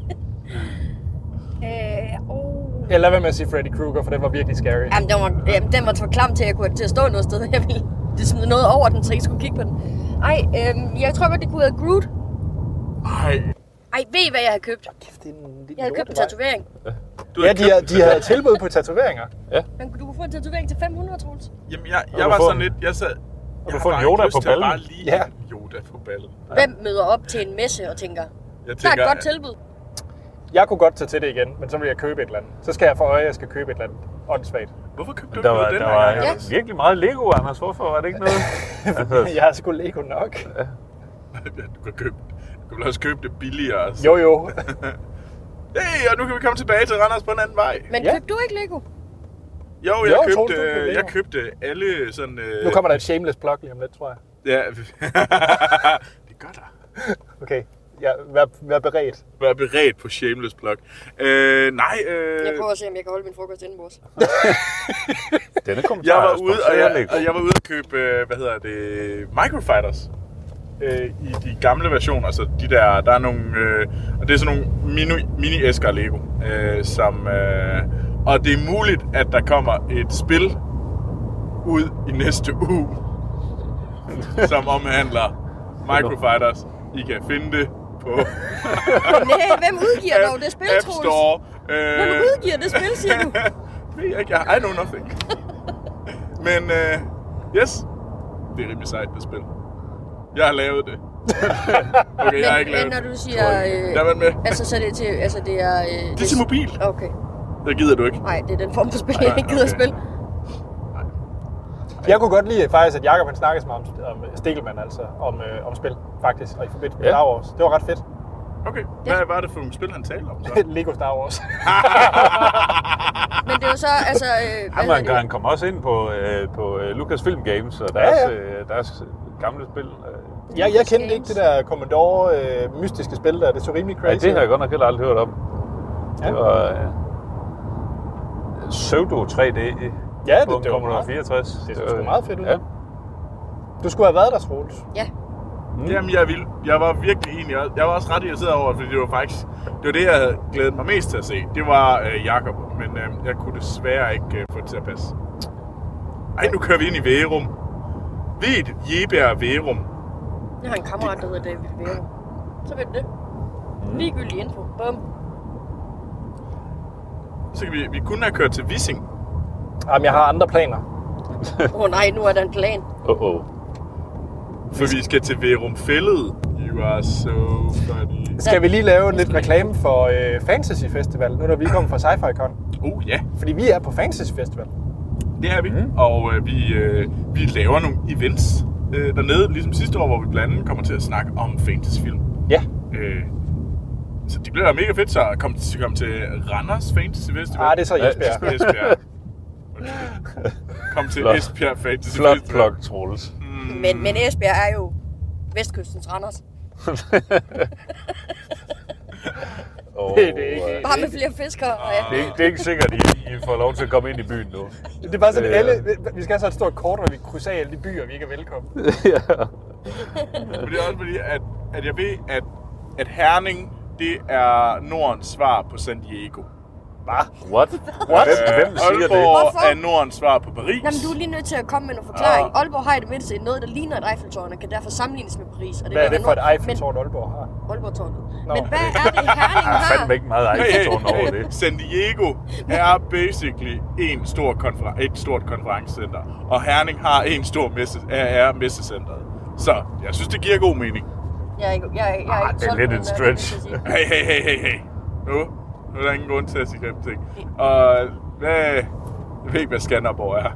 [SPEAKER 3] øh, oh.
[SPEAKER 1] Jeg lader være med at sige Freddy Krueger, for den var virkelig scary.
[SPEAKER 3] Jamen, den var, jamen, den var for klam til, at jeg kunne til at stå noget sted. Jeg ville det smide noget over den, så jeg ikke skulle kigge på den. Ej, øhm, jeg tror godt, det kunne have Groot.
[SPEAKER 4] Ej,
[SPEAKER 3] Ej, ved I, hvad jeg har købt?
[SPEAKER 1] Kæft, det er en lille
[SPEAKER 3] Jeg har købt en
[SPEAKER 1] lortevej.
[SPEAKER 3] tatovering.
[SPEAKER 4] du Altså,
[SPEAKER 1] Ja,
[SPEAKER 4] har
[SPEAKER 1] de,
[SPEAKER 4] købt-
[SPEAKER 1] har, de havde tilbud på tatoveringer.
[SPEAKER 3] Men du kunne få en tatovering til 500, Troels.
[SPEAKER 4] Jamen, jeg,
[SPEAKER 2] du
[SPEAKER 4] jeg var
[SPEAKER 2] fået
[SPEAKER 4] sådan
[SPEAKER 2] en-
[SPEAKER 4] lidt... Jeg sad... Jeg
[SPEAKER 2] du
[SPEAKER 4] har
[SPEAKER 2] fået en
[SPEAKER 4] bare ikke
[SPEAKER 2] Yoda
[SPEAKER 4] lyst
[SPEAKER 2] på
[SPEAKER 4] til at
[SPEAKER 2] ballen?
[SPEAKER 4] Bare lige
[SPEAKER 1] Ja.
[SPEAKER 4] ja. en Yoda på ballen.
[SPEAKER 3] Hvem møder op til en messe og tænker,
[SPEAKER 4] Jeg
[SPEAKER 3] der er et godt
[SPEAKER 4] at-
[SPEAKER 3] tilbud.
[SPEAKER 1] Jeg kunne godt tage til det igen, men så vil jeg købe et eller andet. Så skal jeg få øje, at jeg skal købe et eller andet åndssvagt.
[SPEAKER 4] Hvorfor købte du ikke
[SPEAKER 2] Der var,
[SPEAKER 4] noget den
[SPEAKER 2] der
[SPEAKER 4] her
[SPEAKER 2] var
[SPEAKER 4] gang,
[SPEAKER 3] Ja.
[SPEAKER 4] Anders?
[SPEAKER 2] virkelig meget Lego, Anders. Hvorfor var det ikke noget? Altså,
[SPEAKER 1] Jeg har sgu Lego nok.
[SPEAKER 4] Ja, du kan købe... Du kan vel også købe det billigere. Altså.
[SPEAKER 1] Jo, jo.
[SPEAKER 4] Hey, og nu kan vi komme tilbage til Randers på en anden vej.
[SPEAKER 3] Men
[SPEAKER 1] Ja.
[SPEAKER 3] ja. købte du ikke Lego?
[SPEAKER 4] Jo, jeg,
[SPEAKER 1] Jo,
[SPEAKER 4] købte,
[SPEAKER 1] Troels, du købte
[SPEAKER 4] øh,
[SPEAKER 1] Lego.
[SPEAKER 4] jeg købte alle sådan... Øh,
[SPEAKER 1] Nu kommer der et shameless plug lige om lidt, tror jeg.
[SPEAKER 4] Ja, det gør der.
[SPEAKER 1] Okay, ja, vær, vær beredt.
[SPEAKER 4] Vær beredt på shameless plug. Øh, nej, øh,
[SPEAKER 3] Jeg prøver at se, om jeg kan holde min frokost indenbords.
[SPEAKER 2] denne kommentar
[SPEAKER 4] jeg
[SPEAKER 2] er
[SPEAKER 4] var ude og
[SPEAKER 2] sponsoreret af
[SPEAKER 4] jeg,
[SPEAKER 2] Lego.
[SPEAKER 4] og jeg var ude og købe, øh, hvad hedder det, microfighters. øh, i de gamle versioner. Så de der, der er nogle, øh, og det er sådan nogle mini, mini-æsker af Lego, øh, som, øh, og det er muligt, at der kommer et spil ud i næste uge, som omhandler Microfighters. I kan finde det på
[SPEAKER 3] Nej, hvem udgiver dog det spil,
[SPEAKER 4] App
[SPEAKER 3] Troels?
[SPEAKER 4] Store. Øh,
[SPEAKER 3] Hvem udgiver det spil, siger du?
[SPEAKER 4] Ved jeg ikke. I know nothing. Men øh, yes, det er rimelig sejt, det spil. Jeg har lavet det. Okay, jeg har ikke
[SPEAKER 3] Men,
[SPEAKER 4] lavet
[SPEAKER 3] men når
[SPEAKER 4] det.
[SPEAKER 3] du
[SPEAKER 4] Tror
[SPEAKER 3] siger...
[SPEAKER 4] jeg ikke.
[SPEAKER 3] Øh,
[SPEAKER 4] Lad være med.
[SPEAKER 3] altså, så er det til... Altså, det er... Øh,
[SPEAKER 4] Det er til mobil.
[SPEAKER 3] Okay.
[SPEAKER 4] Det gider du ikke.
[SPEAKER 3] Nej, det er den form for spil,
[SPEAKER 4] Nej,
[SPEAKER 3] jeg ikke gider at
[SPEAKER 4] okay.
[SPEAKER 3] spille.
[SPEAKER 1] Jeg kunne godt lide faktisk, at Jacob han snakkede så meget om, om Stikkelmann, altså om, øh, om spil, faktisk, og i forbindelse med
[SPEAKER 2] Ja.
[SPEAKER 1] Star Wars. Det var ret fedt.
[SPEAKER 4] Okay, hvad var det for nogle spil, han talte om så?
[SPEAKER 1] Lego Star Wars.
[SPEAKER 3] Men det er jo så, altså...
[SPEAKER 2] Han,
[SPEAKER 3] Øh, hvad
[SPEAKER 2] var,
[SPEAKER 3] hedder
[SPEAKER 2] han
[SPEAKER 3] det?
[SPEAKER 2] kom også ind på, øh, på øh, Lucasfilm Games og
[SPEAKER 1] Ja,
[SPEAKER 2] deres,
[SPEAKER 1] ja.
[SPEAKER 2] Øh, deres gamle spil. Øh.
[SPEAKER 1] jeg, jeg kendte
[SPEAKER 3] Games.
[SPEAKER 1] ikke det der Commodore øh, mystiske spil der. Det så rimelig
[SPEAKER 2] Ja,
[SPEAKER 1] crazy.
[SPEAKER 2] det har jeg godt nok heller aldrig hørt om.
[SPEAKER 1] Ja.
[SPEAKER 2] Det var øh, pseudo 3D øh,
[SPEAKER 1] Ja, det-
[SPEAKER 2] på en
[SPEAKER 1] det var
[SPEAKER 2] Commodore
[SPEAKER 1] meget-
[SPEAKER 2] 64.
[SPEAKER 1] det så
[SPEAKER 2] var-
[SPEAKER 1] sgu meget fedt ud.
[SPEAKER 2] Ja.
[SPEAKER 1] Du skulle have været der, Troels.
[SPEAKER 3] Ja,
[SPEAKER 2] Mm.
[SPEAKER 4] Jamen, jeg, ville, jeg var virkelig egentlig også- Jeg var også ret irriteret over, det, fordi det var faktisk... Det var det, jeg havde glædet mig mest til at se. Det var øh, Jakob, men øh, jeg kunne desværre ikke øh, få det til at passe. Ej, nu kører vi ind i Verum. Ved Jebjerg Verum.
[SPEAKER 3] jeg har en kammerat, der hedder David Vero. Så ved du det.
[SPEAKER 4] Mm.
[SPEAKER 3] Ligegyldig info. Bum.
[SPEAKER 4] Så kan vi, vi kunne have kørt til Vissing.
[SPEAKER 1] Jamen, jeg har andre planer.
[SPEAKER 3] Åh oh, nej, nu er der en plan.
[SPEAKER 2] Oh, oh.
[SPEAKER 4] For vi skal til Verum Fælled. You are so funny.
[SPEAKER 1] Skal vi lige lave lidt reklame for øh, Fantasy Festival, nu når vi kommer fra Sci-Fi Con?
[SPEAKER 4] Oh ja,
[SPEAKER 1] Fordi vi er på Fantasy Festival.
[SPEAKER 4] det er vi. Mm. Og øh, vi, øh, vi laver nogle events øh, dernede, ligesom sidste år, hvor vi blandt andet kommer til at snakke om fantasyfilm.
[SPEAKER 1] Ja.
[SPEAKER 4] Øh, så det bliver mega fedt, så kom, kom til Randers Fantasy Festival.
[SPEAKER 1] Ah, det er så
[SPEAKER 2] Ja,
[SPEAKER 1] Jesper.
[SPEAKER 4] Esbjerg. Esbjerg. kom til
[SPEAKER 2] Flot.
[SPEAKER 4] Esbjerg Fantasy
[SPEAKER 2] Flot
[SPEAKER 4] Festival.
[SPEAKER 2] plok, Troels.
[SPEAKER 1] Mm.
[SPEAKER 3] Men, men Esbjerg er jo vestkystens Randers.
[SPEAKER 2] Oh,
[SPEAKER 1] Det er det ikke.
[SPEAKER 2] øh,
[SPEAKER 3] Bare med flere fiskere. Og ja.
[SPEAKER 1] Ah.
[SPEAKER 2] Det er, ikke- det er ikke sikkert, at I, I får lov til at komme ind i byen nu.
[SPEAKER 1] Det er bare sådan,
[SPEAKER 2] Øh.
[SPEAKER 1] alle, vi skal have så et stort kort, hvor vi krydser af alle de byer, vi ikke er velkommen.
[SPEAKER 4] Men det er også fordi, at, at jeg ved, at, at Herning, det er Nordens svar på San Diego.
[SPEAKER 2] What?
[SPEAKER 1] What?
[SPEAKER 2] Hvem, hvem siger det?
[SPEAKER 4] Aalborg
[SPEAKER 3] Hvorfor?
[SPEAKER 4] er Nordens svar på Paris.
[SPEAKER 3] Jamen, du er lige nødt til at komme med nogle forklaring.
[SPEAKER 1] Ah.
[SPEAKER 3] Aalborg har i det mindste noget, der ligner et Eiffeltårn, og kan derfor sammenlignes med Paris. Og
[SPEAKER 1] Hvad er det for et
[SPEAKER 3] noget-
[SPEAKER 1] Eiffeltårn, Aalborg har?
[SPEAKER 3] Men, Aalborg-tårnet.
[SPEAKER 1] Nå. Ah,
[SPEAKER 3] Men hvad er det, Herning
[SPEAKER 2] Der er
[SPEAKER 3] har?
[SPEAKER 2] fandme ikke meget ejertårn over det.
[SPEAKER 4] San Diego er basically en stor konferen- et stort konferencecenter, og Herning har en stor messe, er, er messecenteret. Så jeg synes, det giver god mening.
[SPEAKER 3] Jeg er ikke, jeg, er- jeg, er
[SPEAKER 2] Ah,
[SPEAKER 3] ikke
[SPEAKER 2] det er
[SPEAKER 3] solgt
[SPEAKER 2] lidt
[SPEAKER 3] på
[SPEAKER 2] en
[SPEAKER 3] den der,
[SPEAKER 2] stretch.
[SPEAKER 3] kan jeg sige.
[SPEAKER 4] Hey, hey, hey, hey, hey. Nu, nu er der ingen grund til at sige grimme ting. Og hvad, jeg ved ikke, hvad Skanderborg er.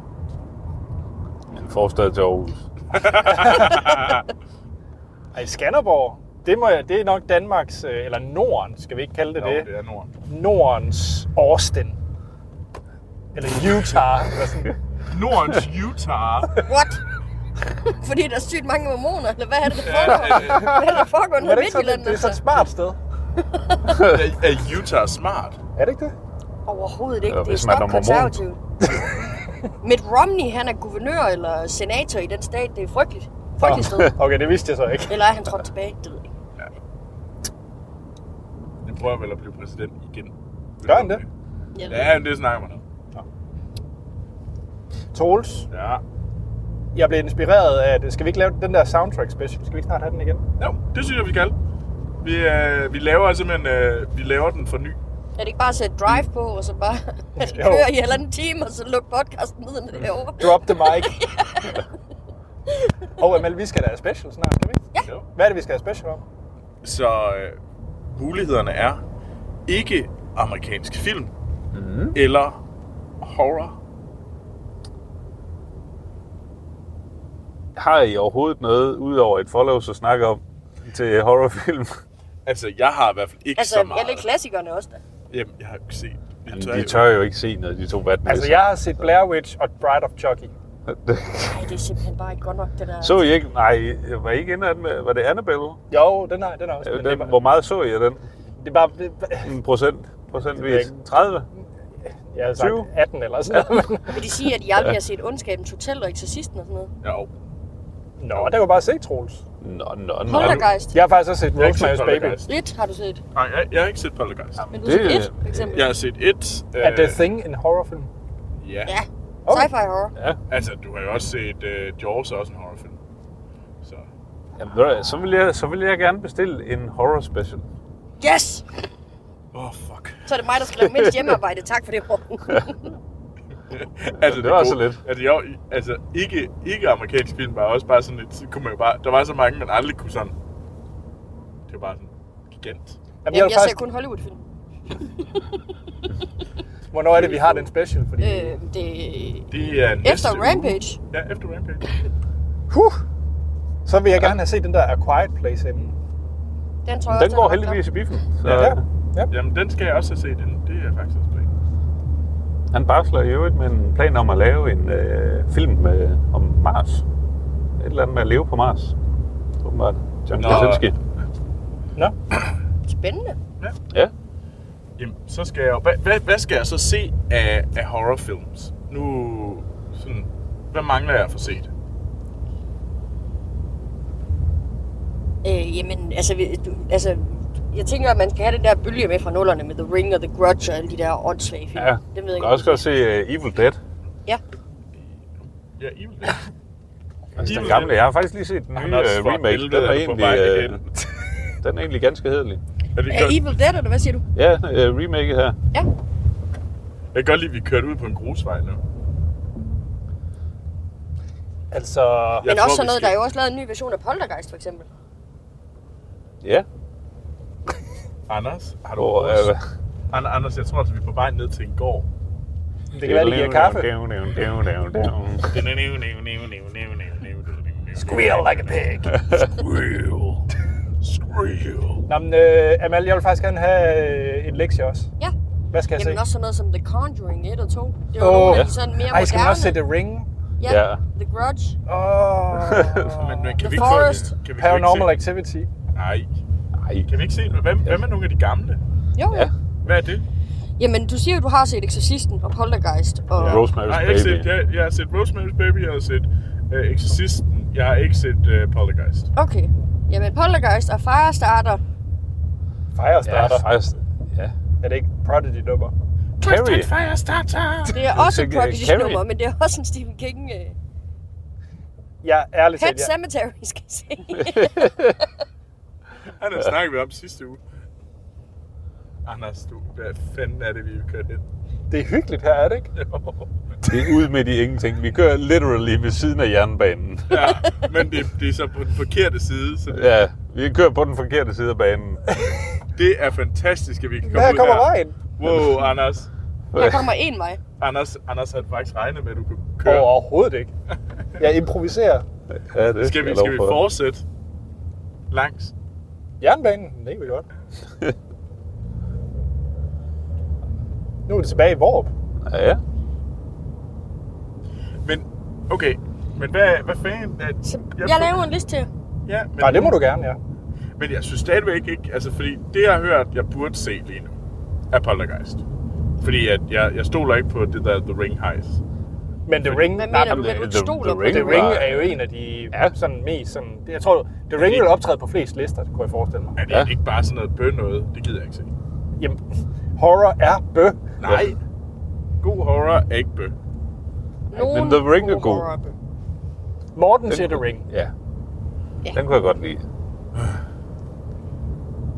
[SPEAKER 2] Forstad til Aarhus.
[SPEAKER 1] Ej, Skanderborg, det, må jeg, det er nok Danmarks, øh, eller Norden, skal vi ikke kalde det
[SPEAKER 4] Jo,
[SPEAKER 1] det?
[SPEAKER 4] det er Norden.
[SPEAKER 1] Nordens Austin. Eller Utah, eller sådan.
[SPEAKER 4] Nordens Utah.
[SPEAKER 3] What? Fordi der er sygt mange hormoner, eller hvad er det, der foregår? Hvad er det, der foregår
[SPEAKER 1] Men er
[SPEAKER 3] nede i
[SPEAKER 1] det, ikke sådan,
[SPEAKER 3] Midtjylland?
[SPEAKER 1] det er sådan et
[SPEAKER 3] Altså?
[SPEAKER 1] smart sted.
[SPEAKER 4] er, er Utah smart?
[SPEAKER 1] Er det ikke det?
[SPEAKER 3] Overhovedet ikke.
[SPEAKER 2] Ja,
[SPEAKER 3] Det er
[SPEAKER 2] hvis man er mormon.
[SPEAKER 3] stokkonservativt. Mitt Romney, han er guvernør eller senator i den stat. Det er frygteligt. Frygteligt sted.
[SPEAKER 1] Okay, det vidste jeg så ikke.
[SPEAKER 3] Eller er han trådt tilbage? Det ved jeg ikke.
[SPEAKER 4] Jeg prøver vel at blive præsident igen.
[SPEAKER 1] Gør han det?
[SPEAKER 3] Jeg ved
[SPEAKER 4] Ja, men det snakker man om.
[SPEAKER 1] Troels,
[SPEAKER 4] Ja.
[SPEAKER 1] jeg blev inspireret af, at skal vi ikke lave den der soundtrack special? Skal vi ikke snart have den igen?
[SPEAKER 4] Jo, det synes jeg, vi skal. Vi, øh, vi laver simpelthen, øh, vi laver den for ny.
[SPEAKER 3] Er det ikke bare at sætte drive på, og så bare at
[SPEAKER 1] Jo.
[SPEAKER 3] køre i halvanden time, og så lukke podcasten ned med derovre?
[SPEAKER 1] Drop the mic. Og Amal, vi skal da have special snart, skal vi ikke?
[SPEAKER 4] Jo.
[SPEAKER 1] Hvad er det, vi skal have special om?
[SPEAKER 4] Altså, Så øh, mulighederne er ikke amerikansk film
[SPEAKER 1] Mhm.
[SPEAKER 4] mm. eller horror.
[SPEAKER 2] Har I overhovedet noget, udover et follows at snakke om til horrorfilm?
[SPEAKER 4] Altså, jeg har i hvert fald ikke
[SPEAKER 3] Altså,
[SPEAKER 4] så meget.
[SPEAKER 3] alle klassikerne også da.
[SPEAKER 4] Jamen, jeg har ikke set.
[SPEAKER 2] Jamen, de tør jo ikke se noget, de to vatnæsser.
[SPEAKER 1] Altså, jeg har set Blair Witch og Bride of Chucky.
[SPEAKER 3] Nej, det er simpelthen bare ikke godt nok, det der.
[SPEAKER 2] Så I ikke? Nej, var I ikke inde af den med, var det Annabelle?
[SPEAKER 1] Jo, den har, den har
[SPEAKER 4] Øh,
[SPEAKER 1] også. men det,
[SPEAKER 2] Den,
[SPEAKER 1] er bare,
[SPEAKER 2] hvor meget så I af den?
[SPEAKER 1] det er bare, det,
[SPEAKER 2] En procent? Procentvis?
[SPEAKER 1] Det ved jeg
[SPEAKER 2] 30?
[SPEAKER 1] jeg har sagt
[SPEAKER 2] 20?
[SPEAKER 1] 18 eller sådan noget. men-
[SPEAKER 3] Vil de sige, at jeg aldrig har set ondskabens hotel og eksorcisten og sådan noget?
[SPEAKER 4] Jo.
[SPEAKER 1] Nå, der kan du bare se, Troels.
[SPEAKER 2] Nå, nå, nå.
[SPEAKER 3] Poltergeist.
[SPEAKER 1] Jeg har faktisk også set
[SPEAKER 4] Jeg har ikke set
[SPEAKER 1] Rosemary's Baby.
[SPEAKER 4] Poltergeist.
[SPEAKER 3] Et har du set.
[SPEAKER 4] Nej, jeg, jeg har ikke set Poltergeist.
[SPEAKER 3] Men du
[SPEAKER 2] Det-
[SPEAKER 3] har set et, for eksempel.
[SPEAKER 4] Jeg har set et. Øh,
[SPEAKER 1] Er The Thing en horrorfilm?
[SPEAKER 4] Ja.
[SPEAKER 3] Ja.
[SPEAKER 1] Okay.
[SPEAKER 3] Sci-fi horror.
[SPEAKER 2] Ja.
[SPEAKER 4] Altså, du har jo også set øh, Jaws er også en horrorfilm. Så.
[SPEAKER 2] Jamen, ved du hvad, så, vil jeg, så vil jeg gerne bestille en horror special.
[SPEAKER 3] Yes!
[SPEAKER 4] Åh, oh, fuck.
[SPEAKER 3] Så er det mig, der skal lave mindst hjemmearbejde. Tak for det, Morten.
[SPEAKER 4] altså,
[SPEAKER 2] det var
[SPEAKER 4] gode-
[SPEAKER 2] så lidt.
[SPEAKER 4] Altså, jeg, altså ikke, ikke amerikansk film, var også bare sådan lidt, så kunne man jo bare, der var så mange, man aldrig kunne sådan. Det var bare sådan gigant.
[SPEAKER 1] Jamen,
[SPEAKER 3] Jamen,
[SPEAKER 1] vil
[SPEAKER 3] jeg ser
[SPEAKER 1] faktisk,
[SPEAKER 3] kun Hollywood-film.
[SPEAKER 1] Hvornår er det, vi har den special? Fordi...
[SPEAKER 3] Øh, det...
[SPEAKER 4] Det er næste
[SPEAKER 3] Efter
[SPEAKER 4] uge.
[SPEAKER 3] Rampage.
[SPEAKER 4] Ja, efter Rampage.
[SPEAKER 1] Huh. Så vil jeg gerne have set den der A Quiet Place inden.
[SPEAKER 3] Den tror jeg
[SPEAKER 2] Den
[SPEAKER 3] også,
[SPEAKER 2] går
[SPEAKER 3] er ret
[SPEAKER 2] heldigvis i biffen, så
[SPEAKER 1] Ja.
[SPEAKER 2] ja.
[SPEAKER 1] ja.
[SPEAKER 4] Jamen, den skal jeg også have set inden. Det er faktisk også planen.
[SPEAKER 2] han barsler i øvrigt med en plan om at lave en øh, film med, om Mars. Et eller andet med at leve på Mars. Åbenbart. John
[SPEAKER 4] Nå.
[SPEAKER 2] Krasinski.
[SPEAKER 1] Nå?
[SPEAKER 3] Spændende.
[SPEAKER 2] Ja.
[SPEAKER 4] Jamen, så skal jeg jo- hvad, hvad, hvad skal jeg så se af, af horrorfilms? Nu sådan, hvad mangler jeg at få set?
[SPEAKER 3] Øh, jamen, altså, vi- du, altså, jeg tænker, at man skal have den der bølge med fra nullerne med The Ring og The Grudge og alle de der åndssvage film.
[SPEAKER 2] ja.
[SPEAKER 3] Den ved jeg
[SPEAKER 2] Du
[SPEAKER 3] ikke.
[SPEAKER 2] kan også godt se uh, Evil Dead.
[SPEAKER 3] Ja.
[SPEAKER 4] Ja, Evil Dead.
[SPEAKER 2] Altså den
[SPEAKER 4] Evil
[SPEAKER 2] gamle.
[SPEAKER 4] Dead.
[SPEAKER 2] Jeg har faktisk lige set den nye
[SPEAKER 4] Han er også
[SPEAKER 2] uh,
[SPEAKER 4] for
[SPEAKER 2] remake. Den
[SPEAKER 4] helvede
[SPEAKER 2] er,
[SPEAKER 4] på vej
[SPEAKER 2] egentlig, uh,
[SPEAKER 4] igen.
[SPEAKER 2] den er egentlig ganske hedelig.
[SPEAKER 4] Er det
[SPEAKER 3] Er
[SPEAKER 4] godt?
[SPEAKER 3] Evil Dead, eller hvad siger du?
[SPEAKER 2] Ja, uh, remake her.
[SPEAKER 3] Ja.
[SPEAKER 4] Jeg kan godt lide, at vi kørte ud på en grusvej nu.
[SPEAKER 1] Altså,
[SPEAKER 4] Ja.
[SPEAKER 1] ja.
[SPEAKER 3] Men
[SPEAKER 4] tror,
[SPEAKER 3] også
[SPEAKER 4] vi
[SPEAKER 3] sådan noget,
[SPEAKER 4] skal-
[SPEAKER 3] der er jo også lavet en ny version af Poltergeist, for eksempel.
[SPEAKER 2] Ja.
[SPEAKER 4] Anders, har du
[SPEAKER 2] Hvor,
[SPEAKER 4] også?
[SPEAKER 2] øh,
[SPEAKER 4] An- Anders, jeg tror altså, vi er på vej ned til en gård.
[SPEAKER 1] det kan være, de giver kaffe.
[SPEAKER 4] Squeal like a pig. Squeal. Squeal.
[SPEAKER 1] Nå, men, øh, Amal, jeg vil faktisk gerne have øh, en lektie også.
[SPEAKER 3] Ja.
[SPEAKER 1] Hvad skal jeg
[SPEAKER 3] Jamen
[SPEAKER 1] se?
[SPEAKER 3] også sådan noget som The Conjuring 1 og 2. Det var
[SPEAKER 1] Åh.
[SPEAKER 3] oh, nogle af de
[SPEAKER 2] Ja.
[SPEAKER 3] sådan mere
[SPEAKER 1] Ej, skal man
[SPEAKER 3] moderne.
[SPEAKER 1] også se The Ring?
[SPEAKER 3] Ja.
[SPEAKER 2] Ja.
[SPEAKER 3] The Grudge.
[SPEAKER 1] Åh.
[SPEAKER 4] Men, men
[SPEAKER 3] The
[SPEAKER 4] kan vi ikke
[SPEAKER 3] Forest.
[SPEAKER 4] få... Kan vi,
[SPEAKER 1] Paranormal
[SPEAKER 4] Kan vi ikke
[SPEAKER 1] Activity.
[SPEAKER 4] se, nej.
[SPEAKER 2] Nej.
[SPEAKER 4] Kan vi ikke se... Hvad, hvad med nogle af de gamle?
[SPEAKER 3] Jo, ja.
[SPEAKER 2] Ja.
[SPEAKER 4] Hvad er det?
[SPEAKER 3] Jamen, du siger jo, du har set Exorcisten og Poltergeist. Og...
[SPEAKER 2] Ja. Rosemary's
[SPEAKER 4] nej, jeg, har ikke
[SPEAKER 2] Baby.
[SPEAKER 4] set, jeg, jeg har set Rosemary's Baby, jeg har set uh, Exorcisten, jeg har ikke set uh, Poltergeist.
[SPEAKER 3] Okay. Jamen, Poltergeist og Firestarter.
[SPEAKER 2] Ja,
[SPEAKER 1] Firestarter. Ja,
[SPEAKER 2] faktisk. Ja.
[SPEAKER 1] er det ikke Prodigy nummer?
[SPEAKER 2] Carrie.
[SPEAKER 3] Det er også et
[SPEAKER 2] tænker, øh,
[SPEAKER 3] Prodigy-nummer,
[SPEAKER 2] Carrie.
[SPEAKER 3] men det er også en Stephen King... Øh...
[SPEAKER 1] Ja, ærligt
[SPEAKER 3] Pet
[SPEAKER 1] talt, ja.
[SPEAKER 3] Cemetery skal jeg se.
[SPEAKER 4] Han har snakket vi om sidste uge. Anders, du, hvad fanden er det, vi kører hen?
[SPEAKER 1] Det er hyggeligt her, er det ikke?
[SPEAKER 2] Det er ud midt i ingenting. Vi kører literally ved siden af jernbanen.
[SPEAKER 4] ja, men det, det er så på den forkerte side, så det,
[SPEAKER 2] Ja, vi kører på den forkerte side af banen.
[SPEAKER 4] det er fantastisk, at vi kan komme
[SPEAKER 1] Her
[SPEAKER 4] ud
[SPEAKER 1] kommer
[SPEAKER 4] her.
[SPEAKER 1] vejen.
[SPEAKER 4] Wow, Anders.
[SPEAKER 3] Der kommer en vej.
[SPEAKER 4] Anders, Anders havde faktisk regnet med, at du kunne køre.
[SPEAKER 1] Overhovedet ikke. Jeg improviserer.
[SPEAKER 2] Ja, det
[SPEAKER 4] Skal vi,
[SPEAKER 2] jeg love
[SPEAKER 4] skal vi
[SPEAKER 2] for.
[SPEAKER 4] fortsætte langs?
[SPEAKER 1] Jernbanen, det kan vi godt. Nu er det tilbage i Vorup.
[SPEAKER 2] Ja, ja.
[SPEAKER 4] Men, okay, men hvad, hvad fanden? Er,
[SPEAKER 3] Så jeg laver en liste til jer.
[SPEAKER 4] Ja, men,
[SPEAKER 1] Nej, det må du gerne, ja.
[SPEAKER 4] Men jeg synes stadigvæk ikke, altså fordi det, jeg har hørt, jeg burde se lige nu, er Poltergeist. Fordi at jeg, jeg stoler ikke på det der The Ring hejs.
[SPEAKER 1] Men The Ring,
[SPEAKER 3] Hvad
[SPEAKER 1] nej,
[SPEAKER 3] mener du,
[SPEAKER 1] men
[SPEAKER 3] at du ikke
[SPEAKER 2] The-
[SPEAKER 3] stoler
[SPEAKER 2] The
[SPEAKER 3] på
[SPEAKER 2] Ring
[SPEAKER 1] The
[SPEAKER 3] det?
[SPEAKER 2] var-
[SPEAKER 1] Ring er jo en af de
[SPEAKER 2] Ja.
[SPEAKER 1] sådan mest sådan... Jeg tror, The Ring vil optræde på flest lister, kunne jeg forestille mig.
[SPEAKER 4] Er det
[SPEAKER 2] Ja.
[SPEAKER 4] ja. ikke bare sådan noget bøn noget? Det gider jeg ikke se.
[SPEAKER 1] Jamen, horror er bø.
[SPEAKER 4] Nej. God horror er ikke bøn.
[SPEAKER 3] Nogen
[SPEAKER 2] men The Ring er god.
[SPEAKER 3] horror-
[SPEAKER 1] Morten siger The Ring.
[SPEAKER 2] Ja.
[SPEAKER 3] Ja.
[SPEAKER 2] Den kunne jeg godt lide.
[SPEAKER 3] Den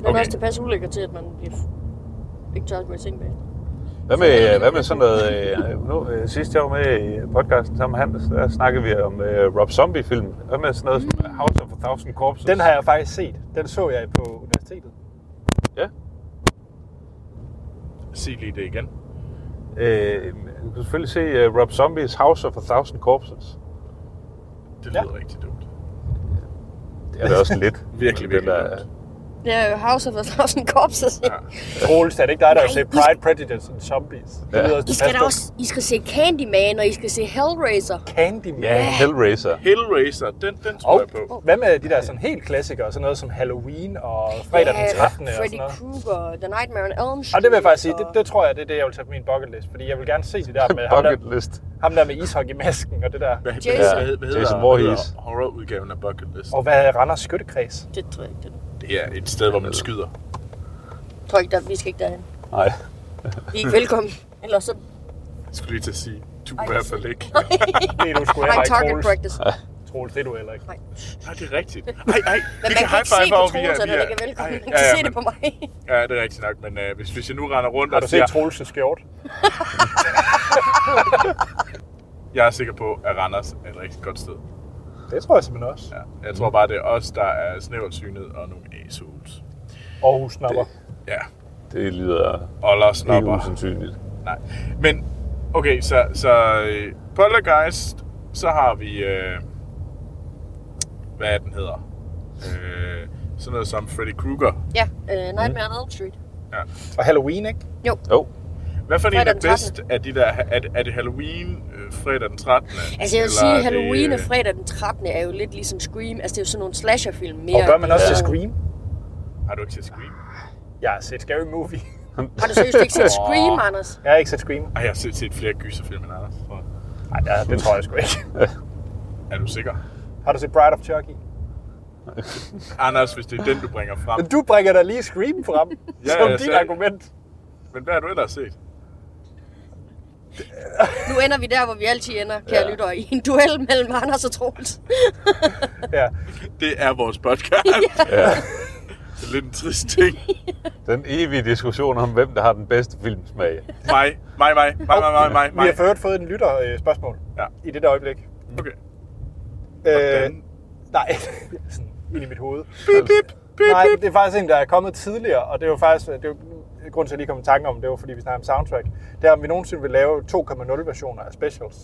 [SPEAKER 3] er
[SPEAKER 4] Okay.
[SPEAKER 3] også tilpas ulækker til, at man bliver f- ikke tør at gå i seng bag.
[SPEAKER 2] Hvad med, hvad med sådan noget... Øh, nu, øh, sidst jeg var med i podcasten sammen med Hans, der snakkede vi om øh, Rob Zombie-film. Hvad med sådan noget som House of a Thousand Corpses?
[SPEAKER 1] Den har jeg faktisk set. Den så jeg på universitetet.
[SPEAKER 2] Ja.
[SPEAKER 4] Sig lige det igen.
[SPEAKER 2] Øh, du kan selvfølgelig se øh, Rob Zombies House of a Thousand Corpses.
[SPEAKER 4] Det
[SPEAKER 1] Ja.
[SPEAKER 4] lyder ja. rigtig dumt.
[SPEAKER 2] Det er da også lidt.
[SPEAKER 4] Virkelig,
[SPEAKER 2] Den
[SPEAKER 4] virkelig
[SPEAKER 2] er-
[SPEAKER 4] dumt.
[SPEAKER 3] Det er jo House of the Thousand Corpses. Ja.
[SPEAKER 1] Troels, er det ikke dig, der har
[SPEAKER 3] Nej,
[SPEAKER 1] set
[SPEAKER 3] I skal-
[SPEAKER 1] Pride, Prejudice and Zombies? Det
[SPEAKER 2] Ja.
[SPEAKER 1] lyder
[SPEAKER 3] I
[SPEAKER 1] tilpas
[SPEAKER 3] skal da
[SPEAKER 1] dumt.
[SPEAKER 3] også I skal se Candyman, og I skal se Hellraiser.
[SPEAKER 1] Candyman.
[SPEAKER 2] Ja, Hellraiser.
[SPEAKER 4] Hellraiser, den, den tror
[SPEAKER 1] Og
[SPEAKER 4] jeg på.
[SPEAKER 1] hvad med de der sådan helt klassikere, sådan noget som Halloween og fredag den 13. og sådan
[SPEAKER 3] Freddy
[SPEAKER 1] noget?
[SPEAKER 3] Krueger, The Nightmare on Elm Street.
[SPEAKER 1] Og det vil jeg faktisk sige,
[SPEAKER 3] og-
[SPEAKER 1] det, det tror jeg, det er det, jeg vil tage på min bucket list, fordi jeg vil gerne se det der med ham
[SPEAKER 2] Bucket
[SPEAKER 1] der,
[SPEAKER 2] list.
[SPEAKER 1] ham der med ishockeymasken og det der.
[SPEAKER 4] Hvad,
[SPEAKER 3] Jason.
[SPEAKER 4] Jason. Hvad, hvad hedder,
[SPEAKER 2] Jason
[SPEAKER 4] hvad
[SPEAKER 2] Voorhees.
[SPEAKER 4] hedder horrorudgaven af Bucket List?
[SPEAKER 1] Og hvad er Randers skyttekreds?
[SPEAKER 3] Det tror jeg ikke, det
[SPEAKER 4] Det er et sted, hvor man skyder.
[SPEAKER 3] tror jeg ikke, der, vi skal ikke derhen.
[SPEAKER 2] Nej.
[SPEAKER 3] Vi er ikke velkommen. Eller så
[SPEAKER 4] Jeg skulle lige til at sige, du
[SPEAKER 3] Ej,
[SPEAKER 4] er i hvert fald ikke.
[SPEAKER 1] Det er du sgu
[SPEAKER 3] nej,
[SPEAKER 1] heller ikke,
[SPEAKER 3] target
[SPEAKER 1] Troels.
[SPEAKER 3] practice.
[SPEAKER 1] Troels, det er du heller ikke.
[SPEAKER 3] Nej.
[SPEAKER 4] Nej, det er rigtigt. Ej, ej,
[SPEAKER 3] Men
[SPEAKER 4] vi
[SPEAKER 3] man
[SPEAKER 4] kan
[SPEAKER 3] kan ikke se
[SPEAKER 4] high-five
[SPEAKER 3] på
[SPEAKER 4] over, vi
[SPEAKER 3] Troels,
[SPEAKER 4] er-
[SPEAKER 3] at
[SPEAKER 4] vi
[SPEAKER 3] han
[SPEAKER 4] er-
[SPEAKER 3] ikke er velkommen.
[SPEAKER 4] Ej,
[SPEAKER 3] Man kan
[SPEAKER 4] ja, ja,
[SPEAKER 3] se det
[SPEAKER 4] men-
[SPEAKER 3] på mig.
[SPEAKER 4] Ja, det er rigtigt nok, men øh, hvis, hvis jeg nu render rundt
[SPEAKER 1] Har du
[SPEAKER 4] og siger,
[SPEAKER 1] set Troels' skjort?
[SPEAKER 4] jeg er sikker på, at Randers er et rigtig godt sted.
[SPEAKER 1] Det tror jeg simpelthen også.
[SPEAKER 4] Ja, jeg tror bare, det er os, der er snævert synet og nogle assholes.
[SPEAKER 1] Aarhus snapper.
[SPEAKER 4] Ja,
[SPEAKER 2] Det lyder
[SPEAKER 4] Oller
[SPEAKER 2] ikke
[SPEAKER 4] snopper.
[SPEAKER 2] usandsynligt.
[SPEAKER 4] Nej. Men, okay, så, så øh, Poltergeist, så har vi, øh, hvad er den hedder? Øh, sådan noget som Freddy Krueger.
[SPEAKER 3] Ja, uh, Nightmare on Elm Street.
[SPEAKER 4] Ja.
[SPEAKER 1] Og Halloween, ikke?
[SPEAKER 2] Jo.
[SPEAKER 4] Hvad for en
[SPEAKER 3] Fredag
[SPEAKER 4] er
[SPEAKER 3] den
[SPEAKER 4] bedst
[SPEAKER 3] 13..
[SPEAKER 4] af de der? Er, det- er det Halloween øh, fredag den 13.
[SPEAKER 3] Altså jeg vil
[SPEAKER 4] Eller
[SPEAKER 3] sige,
[SPEAKER 4] er det,
[SPEAKER 3] Halloween og
[SPEAKER 4] øh,
[SPEAKER 3] fredag den 13. er jo lidt ligesom Scream. Altså det er jo sådan nogle slasherfilm mere. Øh,
[SPEAKER 1] Og gør man også
[SPEAKER 3] Ja.
[SPEAKER 1] til Scream?
[SPEAKER 4] Har du ikke set Scream?
[SPEAKER 1] Jeg har set Scary Movie.
[SPEAKER 3] Har du seriøst ikke set Scream, Anders?
[SPEAKER 1] Jeg har ikke set Scream.
[SPEAKER 4] Ej, jeg har set, set flere gyserfilm end Anders. tror jeg.
[SPEAKER 1] Nej, det tror jeg sgu ikke.
[SPEAKER 4] Er du sikker?
[SPEAKER 1] Har du set Bride of Chucky?
[SPEAKER 4] Anders, hvis det er den, du bringer frem.
[SPEAKER 1] Men du bringer da lige Scream frem
[SPEAKER 4] Ja,
[SPEAKER 1] som
[SPEAKER 4] jeg
[SPEAKER 1] dit
[SPEAKER 4] sagde-
[SPEAKER 1] argument.
[SPEAKER 4] Men hvad har du ellers set?
[SPEAKER 3] Nu ender vi der, hvor vi altid ender, kære ja.
[SPEAKER 2] Ja.
[SPEAKER 3] lytter, i en duel mellem Anders og Troels.
[SPEAKER 1] Ja.
[SPEAKER 4] Det er vores podcast.
[SPEAKER 2] Ja.
[SPEAKER 4] Det er lidt en trist ting.
[SPEAKER 2] Den evige diskussion om, hvem der har den bedste filmsmag.
[SPEAKER 4] Mig, mig, mig, mig, mig, mig, mig,
[SPEAKER 1] Vi har
[SPEAKER 4] mig.
[SPEAKER 1] for øvrigt fået en lytter øh, spørgsmål
[SPEAKER 4] Ja.
[SPEAKER 1] i det der øjeblik.
[SPEAKER 4] Okay.
[SPEAKER 1] Øh,
[SPEAKER 4] Hvordan?
[SPEAKER 1] nej, sådan ind i mit hoved.
[SPEAKER 4] Bip, bip, bip,
[SPEAKER 1] Nej,
[SPEAKER 4] bip.
[SPEAKER 1] det er faktisk en, der er kommet tidligere, og det er jo faktisk... Det er jo, grunden til, at jeg lige kom i tanke om, det var, fordi vi snakker om soundtrack. Det er, om vi nogensinde vil lave 2.0 versioner af specials.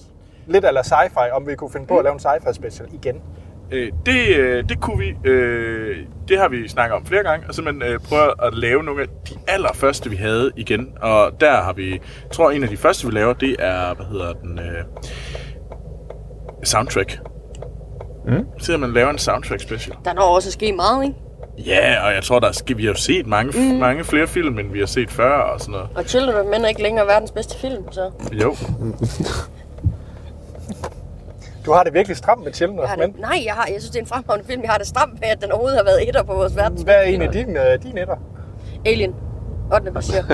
[SPEAKER 1] Lidt eller sci-fi, om vi kunne finde
[SPEAKER 4] Mm.
[SPEAKER 1] på at lave en sci-fi special igen.
[SPEAKER 4] Øh, Det, øh, det kunne vi, øh, det har vi snakket om flere gange, og simpelthen øh, prøve at lave nogle af de allerførste, vi havde igen. Og der har vi, jeg tror en af de første, vi laver, det er, hvad hedder den, øh, soundtrack. Mm. Så man laver en soundtrack special.
[SPEAKER 3] Der når også at ske meget, ikke?
[SPEAKER 4] Ja, og jeg tror, der skal, vi har jo set mange, mm. mange flere film, end vi har set før og sådan noget.
[SPEAKER 3] Og Children of Men er ikke længere verdens bedste film, så...
[SPEAKER 4] Jo.
[SPEAKER 1] Du har det virkelig stramt med Children
[SPEAKER 3] Jeg
[SPEAKER 1] of
[SPEAKER 3] har
[SPEAKER 1] Men.
[SPEAKER 3] det, nej, jeg, har, jeg synes, det er en fremragende film. Jeg har det stramt med, at den overhovedet har været etter på vores verdens.
[SPEAKER 1] Hvad er en af dine, øh, dine etter?
[SPEAKER 3] Alien. 8. passager.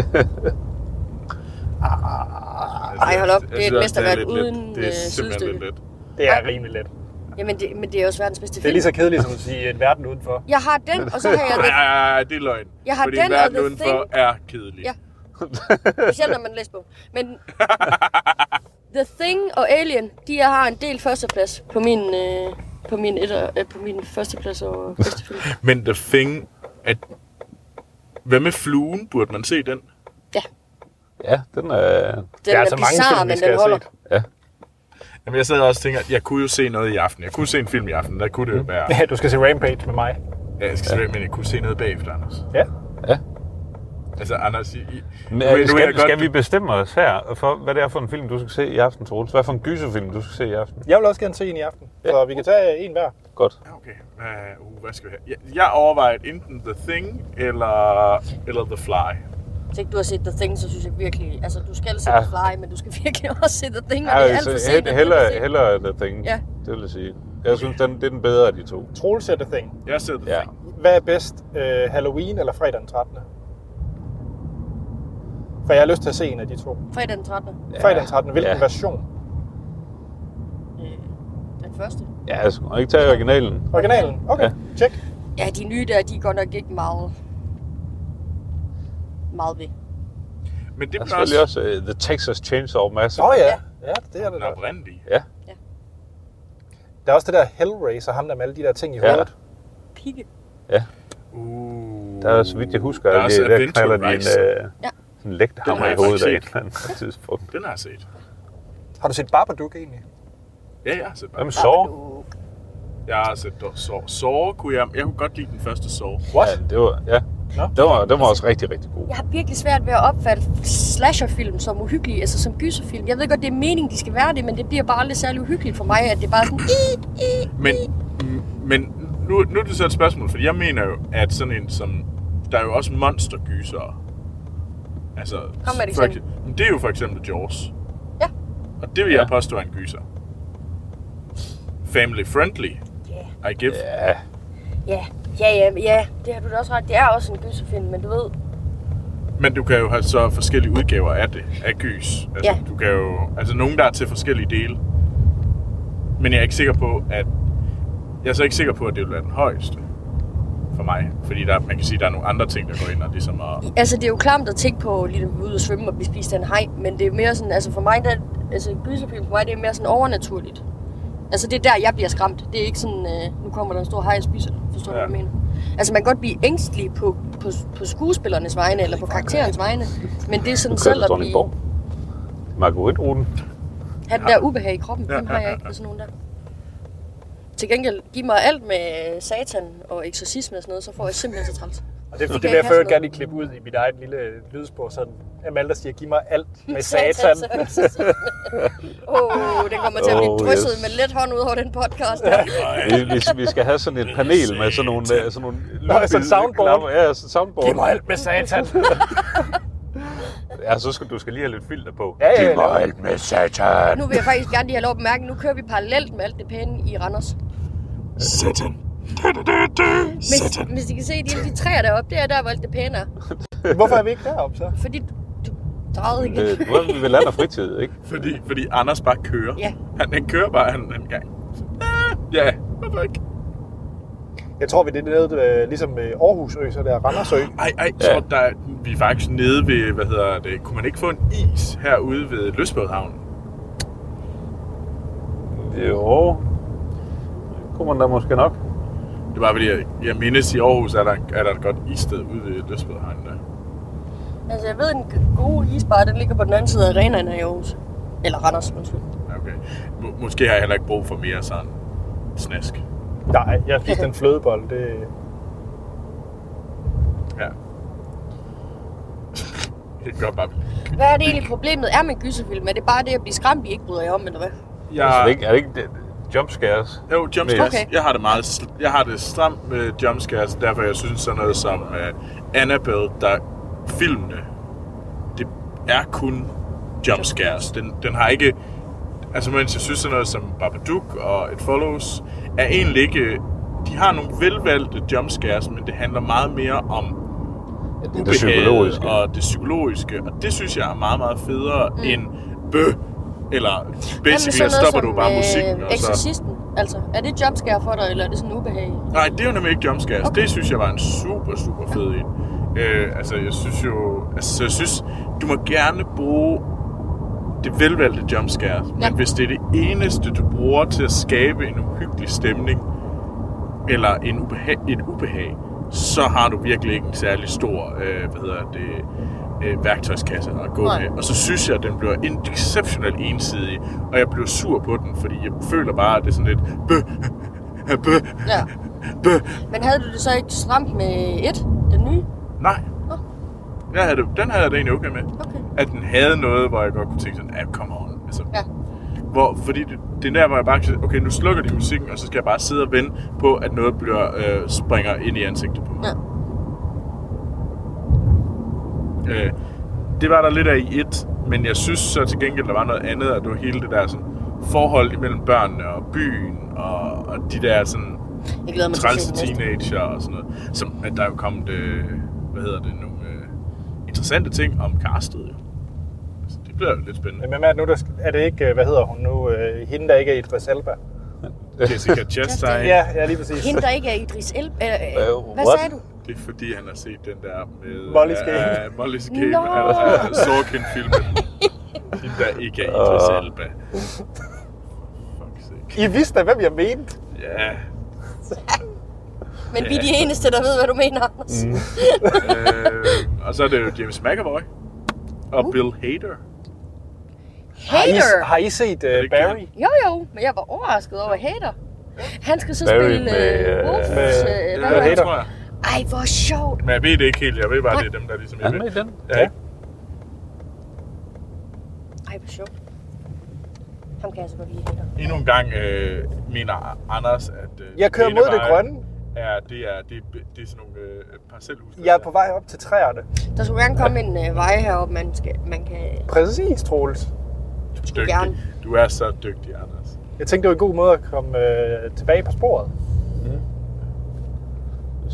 [SPEAKER 3] Ej, hold op. Det er et mesterværk uden,
[SPEAKER 4] Det er simpelthen
[SPEAKER 3] øh,
[SPEAKER 4] lidt
[SPEAKER 3] sidestykke.
[SPEAKER 4] let.
[SPEAKER 1] Det er
[SPEAKER 3] Ej.
[SPEAKER 1] rimelig let.
[SPEAKER 3] Jamen, det, men det er også verdens bedste
[SPEAKER 1] Det er
[SPEAKER 3] film.
[SPEAKER 1] lige så kedeligt som at sige øh, en verden udenfor.
[SPEAKER 3] Jeg har den, og så har jeg
[SPEAKER 4] Nej,
[SPEAKER 3] det.
[SPEAKER 4] nej, nej, det er løgn.
[SPEAKER 3] Jeg har
[SPEAKER 4] Fordi
[SPEAKER 3] den og
[SPEAKER 4] verden
[SPEAKER 3] The
[SPEAKER 4] udenfor
[SPEAKER 3] Thing.
[SPEAKER 4] er kedelig.
[SPEAKER 3] Ja. Specielt når man læser på. Men The Thing og Alien, de har en del førsteplads på min, øh, på min, etter, øh, på min førsteplads over bedste film.
[SPEAKER 4] Men The Thing, at... Hvad med fluen? Burde man se den?
[SPEAKER 2] Ja, den er...
[SPEAKER 3] Den
[SPEAKER 1] Der
[SPEAKER 3] er,
[SPEAKER 1] er
[SPEAKER 3] er
[SPEAKER 1] så mange
[SPEAKER 3] bizarre,
[SPEAKER 1] film, vi
[SPEAKER 3] men
[SPEAKER 1] skal
[SPEAKER 3] den
[SPEAKER 1] have
[SPEAKER 3] holder.
[SPEAKER 1] set.
[SPEAKER 2] Ja.
[SPEAKER 4] Jamen, jeg sad også og tænkte, at jeg kunne jo se noget i aften. Jeg kunne se en film i aften. Der kunne det jo være...
[SPEAKER 1] Ja, du skal se Rampage med mig.
[SPEAKER 4] Ja, jeg skal se, men jeg kunne se noget bagefter, Anders.
[SPEAKER 1] Ja.
[SPEAKER 2] ja.
[SPEAKER 4] Altså, Anders... I, I,
[SPEAKER 2] Men, øh,
[SPEAKER 4] nu ved- nu ved
[SPEAKER 2] skal,
[SPEAKER 4] jeg
[SPEAKER 2] skal,
[SPEAKER 4] godt, du-
[SPEAKER 2] vi bestemme os her for, hvad det er for en film, du skal se i aften, Troels? Hvad for en gyserfilm, du skal se i aften?
[SPEAKER 1] Jeg vil også gerne se en i aften. Så vi kan tage en hver.
[SPEAKER 2] Godt.
[SPEAKER 4] Ja, Ah, Okay, hvad, uh, hvad skal vi have? Jeg, jeg overvejede enten The Thing eller, eller The Fly.
[SPEAKER 3] Hvis ikke du har set The Thing, så synes jeg virkelig... Altså, du skal se
[SPEAKER 2] Ja.
[SPEAKER 3] The Fly, men du skal virkelig også se The Thing, og
[SPEAKER 2] Ja,
[SPEAKER 3] det er alt
[SPEAKER 2] så
[SPEAKER 3] for
[SPEAKER 2] he-
[SPEAKER 3] sent. at det er for
[SPEAKER 2] Heller,
[SPEAKER 3] sent.
[SPEAKER 2] heller The Thing,
[SPEAKER 3] Ja.
[SPEAKER 2] det vil jeg sige. Jeg synes, den, det er den bedre af de to.
[SPEAKER 1] Troels er The Thing.
[SPEAKER 4] Jeg ser The
[SPEAKER 2] Ja.
[SPEAKER 4] Thing.
[SPEAKER 1] Hvad er bedst, øh, Halloween eller fredag den 13. For jeg har lyst til at se en af de to.
[SPEAKER 3] Fredag den 13.
[SPEAKER 1] Ja. Fredag den 13. Hvilken
[SPEAKER 2] Ja.
[SPEAKER 1] ja. version?
[SPEAKER 3] Øh, den første.
[SPEAKER 2] Ja, jeg skulle ikke tage originalen.
[SPEAKER 1] Originalen? Okay,
[SPEAKER 2] Ja.
[SPEAKER 1] ja. tjek.
[SPEAKER 3] Ja, de nye der, de er godt nok ikke meget... Meget ved.
[SPEAKER 4] Men det
[SPEAKER 2] Der er
[SPEAKER 4] bliver
[SPEAKER 2] selvfølgelig
[SPEAKER 4] også
[SPEAKER 2] også uh, The Texas Chainsaw
[SPEAKER 1] Åh
[SPEAKER 2] Massacre.
[SPEAKER 1] oh, ja. ja, det er det
[SPEAKER 4] den
[SPEAKER 1] der.
[SPEAKER 4] oprindelige.
[SPEAKER 2] Ja,
[SPEAKER 1] Der er også det der Hellraiser, ham der med alle de der ting i
[SPEAKER 2] Ja.
[SPEAKER 1] hovedet.
[SPEAKER 3] Pigge.
[SPEAKER 4] Uh,
[SPEAKER 2] der er, så vidt jeg husker,
[SPEAKER 4] der er
[SPEAKER 2] der,
[SPEAKER 4] også
[SPEAKER 2] det, der
[SPEAKER 4] Adventure
[SPEAKER 2] knalder de en
[SPEAKER 4] Rise.
[SPEAKER 2] uh,
[SPEAKER 3] Ja.
[SPEAKER 2] sådan lægthammer
[SPEAKER 4] Den har
[SPEAKER 2] i
[SPEAKER 4] jeg
[SPEAKER 2] hovedet af et
[SPEAKER 4] faktisk
[SPEAKER 2] eller andet tidspunkt.
[SPEAKER 4] Den har jeg set.
[SPEAKER 1] Har du set Babadook egentlig?
[SPEAKER 4] Ja, jeg har set
[SPEAKER 2] Hvem
[SPEAKER 4] bare.
[SPEAKER 2] så?
[SPEAKER 3] Babadook.
[SPEAKER 4] Jeg har set Saw. Saw kunne jeg... Jeg kunne godt lide den første Saw.
[SPEAKER 1] What?
[SPEAKER 2] Ja, det var, ja.
[SPEAKER 1] Nå.
[SPEAKER 2] Det var, det var også rigtig, rigtig god.
[SPEAKER 3] Jeg har virkelig svært ved at opfatte slasherfilm som uhyggelige, altså som gyserfilm. Jeg ved godt, det er meningen, de skal være det, men det bliver bare aldrig særlig uhyggeligt for mig, at det er bare sådan... "Ih, ih."
[SPEAKER 4] Men, men nu, nu er det så et spørgsmål, fordi jeg mener jo, at sådan en som... Der er jo også monstergyser. Altså,
[SPEAKER 3] med et
[SPEAKER 4] for
[SPEAKER 3] eksempel.
[SPEAKER 4] ekse- men det er jo for eksempel Jaws.
[SPEAKER 3] Ja.
[SPEAKER 4] Og det vil jeg
[SPEAKER 2] Ja.
[SPEAKER 4] påstå er en gyser. Family friendly,
[SPEAKER 3] Ja,
[SPEAKER 4] I give.
[SPEAKER 2] Ja,
[SPEAKER 3] ja, ja, ja, ja, det har du da også ret. Det er også en gyserfilm, men du ved...
[SPEAKER 4] Men du kan jo have så forskellige udgaver af det, af gys. Altså,
[SPEAKER 3] Ja.
[SPEAKER 4] du kan jo, altså nogen, der er til forskellige dele. Men jeg er ikke sikker på, at... Jeg er så ikke sikker på, at det vil være den højeste for mig. Fordi der, man kan sige, at der er nogle andre ting, der går ind og ligesom at...
[SPEAKER 3] Altså, det er jo klamt at tænke på, lige at vi er ude og svømme og blive spist af en haj, men det er mere sådan, altså for mig, der, altså gyserfilm for mig, det er mere sådan overnaturligt. Altså, det er der, jeg bliver skræmt. Det er ikke sådan, øh, nu kommer der en stor haj og spiser, dig. forstår du,
[SPEAKER 4] Ja.
[SPEAKER 3] hvad jeg mener? Altså, man kan godt blive ængstelig på, på, på skuespillernes vegne, eller på karakterens vegne, men det er sådan
[SPEAKER 2] nu kører
[SPEAKER 3] selv
[SPEAKER 2] du
[SPEAKER 3] at
[SPEAKER 2] Dronningborg.
[SPEAKER 3] blive,
[SPEAKER 2] Margaritruten.
[SPEAKER 3] have den der ubehag i kroppen.
[SPEAKER 4] Ja,
[SPEAKER 3] Dem har
[SPEAKER 4] ja,
[SPEAKER 3] jeg ikke med sådan nogen der. Til gengæld, giv mig alt med satan og eksorcisme og sådan noget, så får jeg simpelthen så træls.
[SPEAKER 1] Og det, det,
[SPEAKER 3] kan
[SPEAKER 1] det vil
[SPEAKER 3] ikke
[SPEAKER 1] jeg
[SPEAKER 3] have
[SPEAKER 1] for øvrigt
[SPEAKER 3] sådan
[SPEAKER 1] gerne lige klippe ud i mit eget lille lydspor, sådan Amalda siger, giv mig alt med
[SPEAKER 3] Satan,
[SPEAKER 1] satan.
[SPEAKER 3] så eksorcisme. Åh, oh, den kommer til at blive
[SPEAKER 2] Oh,
[SPEAKER 3] drysset
[SPEAKER 2] yes.
[SPEAKER 3] med let hånd ud over den podcast. Der.
[SPEAKER 2] Vi, vi, vi skal have sådan et panel med sådan nogle... øh, Sådan nogle
[SPEAKER 1] Nå, sådan
[SPEAKER 2] lydbil-
[SPEAKER 1] soundboard.
[SPEAKER 2] klapper. Ja, sådan soundboard.
[SPEAKER 1] Giv mig alt med satan.
[SPEAKER 2] Ja, så skal du skal lige have lidt filter på.
[SPEAKER 1] Ja, ja, ja.
[SPEAKER 2] Giv mig alt med satan.
[SPEAKER 3] Nu vil jeg faktisk gerne lige have lov at bemærke, nu kører vi parallelt med alt det pæne i Randers.
[SPEAKER 4] Satan.
[SPEAKER 3] Hvis, hvis I kan se, de, de træer deroppe, det er der, hvor alt det pæne er.
[SPEAKER 1] Hvorfor er vi ikke deroppe så?
[SPEAKER 3] Fordi du, du drejede igen.
[SPEAKER 2] Øh, Nu er vi ved land og fritid, ikke?
[SPEAKER 4] Fordi, fordi Anders bare kører.
[SPEAKER 3] Ja.
[SPEAKER 4] Han, han kører bare han, en gang. Ah, Ja, hvorfor ikke?
[SPEAKER 1] Jeg tror, vi det er nede, øh, ligesom øh, Aarhusø, så er det er Randersø.
[SPEAKER 4] Ej, ej,
[SPEAKER 2] Ah, Ja.
[SPEAKER 4] ja. så der, er- vi er faktisk nede ved, hvad hedder det, kunne man ikke få en is herude ved Løsbådhavnen?
[SPEAKER 2] Jo. Det kunne man da måske nok.
[SPEAKER 4] Det var fordi, jeg, jeg mindes i Aarhus, er der, er der et godt issted ude ved Løsbødhegn der.
[SPEAKER 3] Altså, jeg ved, en god isbar, den ligger på den anden side af arenaen her i Aarhus. Eller Randers, undskyld.
[SPEAKER 4] Ja, Okay. M- måske har jeg heller ikke brug for mere sådan snask.
[SPEAKER 1] Nej, jeg spiste en flødebold. Det,
[SPEAKER 4] Ja. Det gør bare.
[SPEAKER 3] Hvad er det egentlig problemet er med gyserfilm? Er det bare det at blive skræmt, I ikke bryder jer om, eller hvad?
[SPEAKER 2] Ja. Er Altså, det
[SPEAKER 4] Jeg,
[SPEAKER 2] ikke, er det ikke det, jumpscares?
[SPEAKER 4] jo, jumpscares.
[SPEAKER 3] Okay.
[SPEAKER 4] Okay. Jeg har det meget, sl- jeg har det stramt med jumpscares, derfor jeg synes sådan noget som uh, Annabelle, der filmene, det er kun jumpscares. Den, den har ikke, altså mens jeg synes sådan noget som Babadook og It Follows, er egentlig ikke, de har nogle velvalgte jumpscares, men det handler meget mere om
[SPEAKER 2] Ja, det er det
[SPEAKER 4] ubehaget
[SPEAKER 2] psykologiske.
[SPEAKER 4] og det psykologiske, og det synes jeg er meget, meget federe mm. end bø, eller basically,
[SPEAKER 3] sådan
[SPEAKER 4] så
[SPEAKER 3] noget
[SPEAKER 4] stopper du bare
[SPEAKER 3] øh,
[SPEAKER 4] musikken, og så...
[SPEAKER 3] Exorcisten, altså. Er det jumpscare for dig, eller er det sådan ubehag?
[SPEAKER 4] Nej, det er jo nemlig ikke jumpscares.
[SPEAKER 3] Okay.
[SPEAKER 4] Okay. Det synes jeg var en super, super fed en. Øh, altså, jeg synes jo... Altså, jeg synes, du må gerne bruge det velvalgte jumpscares, men
[SPEAKER 3] Ja.
[SPEAKER 4] hvis det er det eneste, du bruger til at skabe en uhyggelig stemning, eller en ubehag, et ubehag, så har du virkelig ikke en særlig stor øh, hvad hedder det, øh, værktøjskasse at gå
[SPEAKER 3] Nej.
[SPEAKER 4] med. Og så synes jeg, at den bliver en exceptionelt ensidig, og jeg bliver sur på den, fordi jeg føler bare, at det er sådan lidt bø, bø,
[SPEAKER 3] Ja.
[SPEAKER 4] bø.
[SPEAKER 3] Men havde du det så ikke stramt med et, den nye?
[SPEAKER 4] Nej.
[SPEAKER 3] Nå.
[SPEAKER 4] Jeg havde det, den havde jeg det egentlig okay med.
[SPEAKER 3] Okay.
[SPEAKER 4] At den havde noget, hvor jeg godt kunne tænke sådan, ja, come on. Altså,
[SPEAKER 3] Ja.
[SPEAKER 4] hvor, fordi det, det er der, hvor jeg bare kan sige, okay, nu slukker de musikken, og så skal jeg bare sidde og vente på, at noget bliver, øh, springer ind i ansigtet på mig.
[SPEAKER 3] Ja.
[SPEAKER 4] Øh, det var der lidt af i et, men jeg synes så til gengæld, der var noget andet, og det var hele det der sådan, forhold imellem børnene og byen, og, og de der sådan,
[SPEAKER 3] Jeg glæder mig til at
[SPEAKER 4] trælse
[SPEAKER 3] se den næste.
[SPEAKER 4] teenager og sådan noget. Som, at der er jo kommet, øh, hvad hedder det, nogle øh, interessante ting om castet. Jo. Altså, det bliver jo lidt spændende.
[SPEAKER 1] men hvem er det nu, der skal- er det ikke, øh, hvad hedder hun nu, øh, hende der ikke er Idris Elba?
[SPEAKER 4] Jessica Chastain,
[SPEAKER 1] Ja, ja lige præcis.
[SPEAKER 3] Hende, der ikke er Idris El... Øh,
[SPEAKER 2] Øh,
[SPEAKER 3] hvad
[SPEAKER 2] what?
[SPEAKER 3] sagde du?
[SPEAKER 4] det er fordi, han har set den der med...
[SPEAKER 1] Molly's Game.
[SPEAKER 4] Uh, Molly's Game.
[SPEAKER 3] Nå.
[SPEAKER 4] No. Uh, Sorkin-filmen. Den der ikke er Idris
[SPEAKER 2] Åh.
[SPEAKER 4] Elba. Fuck sake.
[SPEAKER 1] I vidste da, hvem jeg mente.
[SPEAKER 4] Ja.
[SPEAKER 3] Men vi er de eneste, der ved, hvad du mener, Anders. Mm.
[SPEAKER 4] Øh, og så er det jo James McAvoy. Og Bill Hader.
[SPEAKER 1] Har I,
[SPEAKER 3] Hater!
[SPEAKER 1] har I set
[SPEAKER 4] det
[SPEAKER 1] uh,
[SPEAKER 4] ikke det?
[SPEAKER 1] Barry?
[SPEAKER 3] Øh, Jo jo, men jeg var overrasket over hater. Han skal så
[SPEAKER 2] Barry
[SPEAKER 3] spille
[SPEAKER 2] med,
[SPEAKER 3] øh,
[SPEAKER 2] øh,
[SPEAKER 3] Wolfs... Øh,
[SPEAKER 1] med- med
[SPEAKER 3] hvad var det?
[SPEAKER 1] Hater.
[SPEAKER 4] tror jeg.
[SPEAKER 3] Ej, hvor sjovt.
[SPEAKER 4] Men jeg ved det ikke helt. Jeg ved bare, det er dem, der ligesom...
[SPEAKER 2] Er han med i den?
[SPEAKER 4] Ja. ja.
[SPEAKER 3] Ej, hvor sjovt. Ham kan jeg så godt lide, Hater.
[SPEAKER 4] Endnu en gang øh, mener Anders, at... Øh,
[SPEAKER 1] Jeg kører
[SPEAKER 4] ene
[SPEAKER 1] mod det
[SPEAKER 4] vej
[SPEAKER 1] grønne.
[SPEAKER 4] Er, det, er, det, er, det er sådan nogle øh, parcelhus.
[SPEAKER 1] Jeg er på vej op til træerne.
[SPEAKER 3] Der skulle gerne komme en øh, vej heroppe, man, skal, man kan...
[SPEAKER 1] Præcis, Troels.
[SPEAKER 4] du,
[SPEAKER 3] skulle gerne.
[SPEAKER 4] du er så dygtig, Anders.
[SPEAKER 1] Jeg tænkte, det var en god måde at komme øh, tilbage på sporet.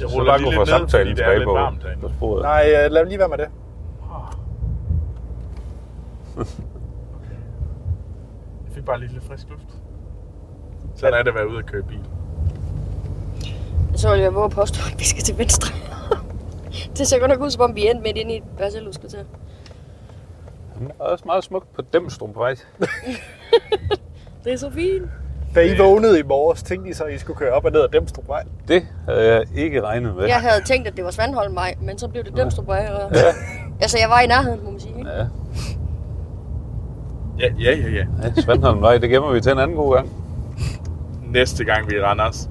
[SPEAKER 2] Jeg
[SPEAKER 4] ruller
[SPEAKER 2] så langt
[SPEAKER 4] lige
[SPEAKER 2] ud
[SPEAKER 4] lidt
[SPEAKER 2] fra
[SPEAKER 4] ned, fordi
[SPEAKER 2] samtalen
[SPEAKER 4] det er
[SPEAKER 2] tilbage
[SPEAKER 4] lidt
[SPEAKER 2] på,
[SPEAKER 4] varmt herinde.
[SPEAKER 2] på sporet.
[SPEAKER 1] Nej, øh, lad lige være med det.
[SPEAKER 4] Jeg fik bare lige lidt frisk luft. Sådan er det at være ude og køre bil.
[SPEAKER 3] Så vil jeg våge at påstå, at vi skal til venstre. det ser godt nok ud, som om vi endte midt inde i et Barcelona-kvarter.
[SPEAKER 2] Den er også meget smukt på Demstrup vej.
[SPEAKER 3] Det er så fint.
[SPEAKER 1] Da I vågnede i morges, tænkte I så, at I skulle køre op og ned ad Demstrupvej.
[SPEAKER 2] Det havde jeg ikke regnet med.
[SPEAKER 3] Jeg havde tænkt, at det var Svandholmvej, men så blev det Dømstrupvej. Og...
[SPEAKER 2] Ja.
[SPEAKER 3] Altså, jeg var i nærheden, må man sige. Ikke?
[SPEAKER 2] Ja,
[SPEAKER 4] Ja, ja, ja, ja.
[SPEAKER 2] ja Svandholm vej, det gemmer vi til en anden god gang.
[SPEAKER 4] Næste gang vi er i Randers.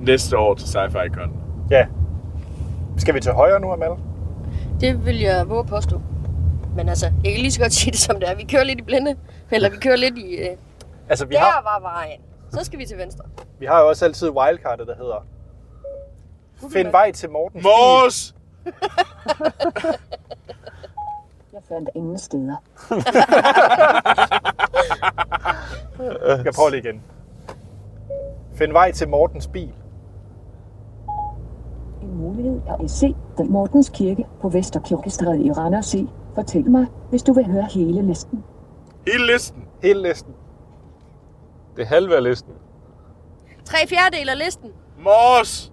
[SPEAKER 4] Næste år til Sci-Fi Con.
[SPEAKER 1] Ja. Skal vi til højre nu, Amal?
[SPEAKER 3] Det vil jeg våge at påstå. Men altså, jeg kan lige så godt sige det, som det er. Vi kører lidt i blinde. Eller vi kører lidt i... Øh...
[SPEAKER 1] Altså, vi
[SPEAKER 3] Der
[SPEAKER 1] har,
[SPEAKER 3] var vejen. Så skal vi til venstre.
[SPEAKER 1] vi har jo også altid wildcardet, der hedder... Find vej til Mortens bil.
[SPEAKER 4] Mors!
[SPEAKER 5] Jeg fandt ingen steder.
[SPEAKER 1] Jeg prøver lige igen. Find vej til Mortens bil.
[SPEAKER 5] En mulighed er at se den Mortens Kirke på Vesterkirkestræde i Randers C. Fortæl mig, hvis du vil høre hele listen.
[SPEAKER 4] Hele listen.
[SPEAKER 1] Hele listen.
[SPEAKER 2] Det er halve af listen.
[SPEAKER 3] Tre fjerdedel af listen.
[SPEAKER 4] Mors!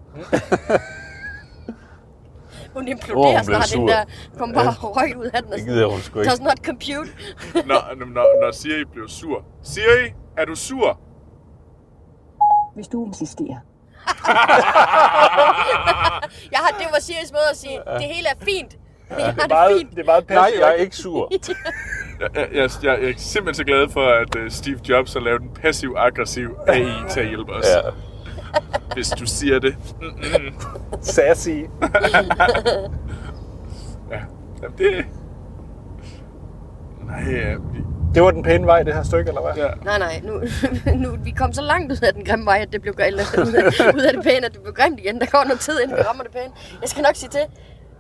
[SPEAKER 3] Hun
[SPEAKER 2] Åh,
[SPEAKER 3] imploderer
[SPEAKER 2] hun
[SPEAKER 3] oh,
[SPEAKER 2] blev
[SPEAKER 3] snart, den
[SPEAKER 2] sur.
[SPEAKER 3] der kom bare røg ud af den. og
[SPEAKER 2] Det
[SPEAKER 3] sådan,
[SPEAKER 2] gider hun sgu ikke.
[SPEAKER 3] Does not compute.
[SPEAKER 4] Når, når, når Siri blev sur. Siri, er du sur?
[SPEAKER 5] Hvis du insisterer.
[SPEAKER 3] Jeg har, det var Siris måde at sige, det hele er fint. Jeg har det
[SPEAKER 1] Meget,
[SPEAKER 3] fint.
[SPEAKER 1] det er meget
[SPEAKER 2] Nej,
[SPEAKER 1] passivt.
[SPEAKER 2] jeg er ikke sur.
[SPEAKER 4] Jeg, jeg, jeg, jeg er simpelthen så glad for, at øh, Steve Jobs har lavet en passiv-aggressiv AI til at hjælpe os.
[SPEAKER 2] Ja.
[SPEAKER 4] Hvis du siger det. Mm-mm.
[SPEAKER 1] Sassy.
[SPEAKER 4] Ja. Jamen, det... Nej, ja, vi...
[SPEAKER 1] Det var den pæne vej, det her stykke, eller hvad?
[SPEAKER 4] Ja.
[SPEAKER 3] Nej, nej, nu, nu, vi kom så langt ud af den grimme vej, at det blev gr- eller, ud, af, ud af det pæne, at det blev grimt igen. Der går noget tid, inden vi rammer det pæne. Jeg skal nok sige til.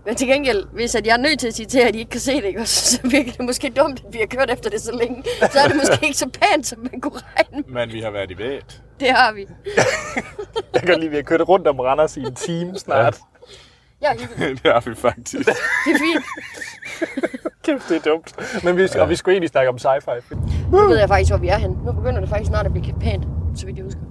[SPEAKER 3] Men til gengæld, hvis at jeg er nødt til at sige til, at I ikke kan se det, ikke? også, så virker det måske dumt, at vi har kørt efter det så længe. Så er det måske ikke så pænt, som man kunne regne med.
[SPEAKER 4] Men vi har været i vejret.
[SPEAKER 3] Det har vi.
[SPEAKER 1] Jeg kan lige, vi har kørt rundt om Randers i en time snart. Ja.
[SPEAKER 3] Jeg er hyggelig.
[SPEAKER 4] det har vi faktisk.
[SPEAKER 3] Det er fint.
[SPEAKER 1] Kæft, det er dumt. Men vi, og vi skulle egentlig snakke om sci-fi.
[SPEAKER 3] Nu ved jeg faktisk, hvor vi er henne. Nu begynder det faktisk snart at blive pænt, så vidt jeg husker.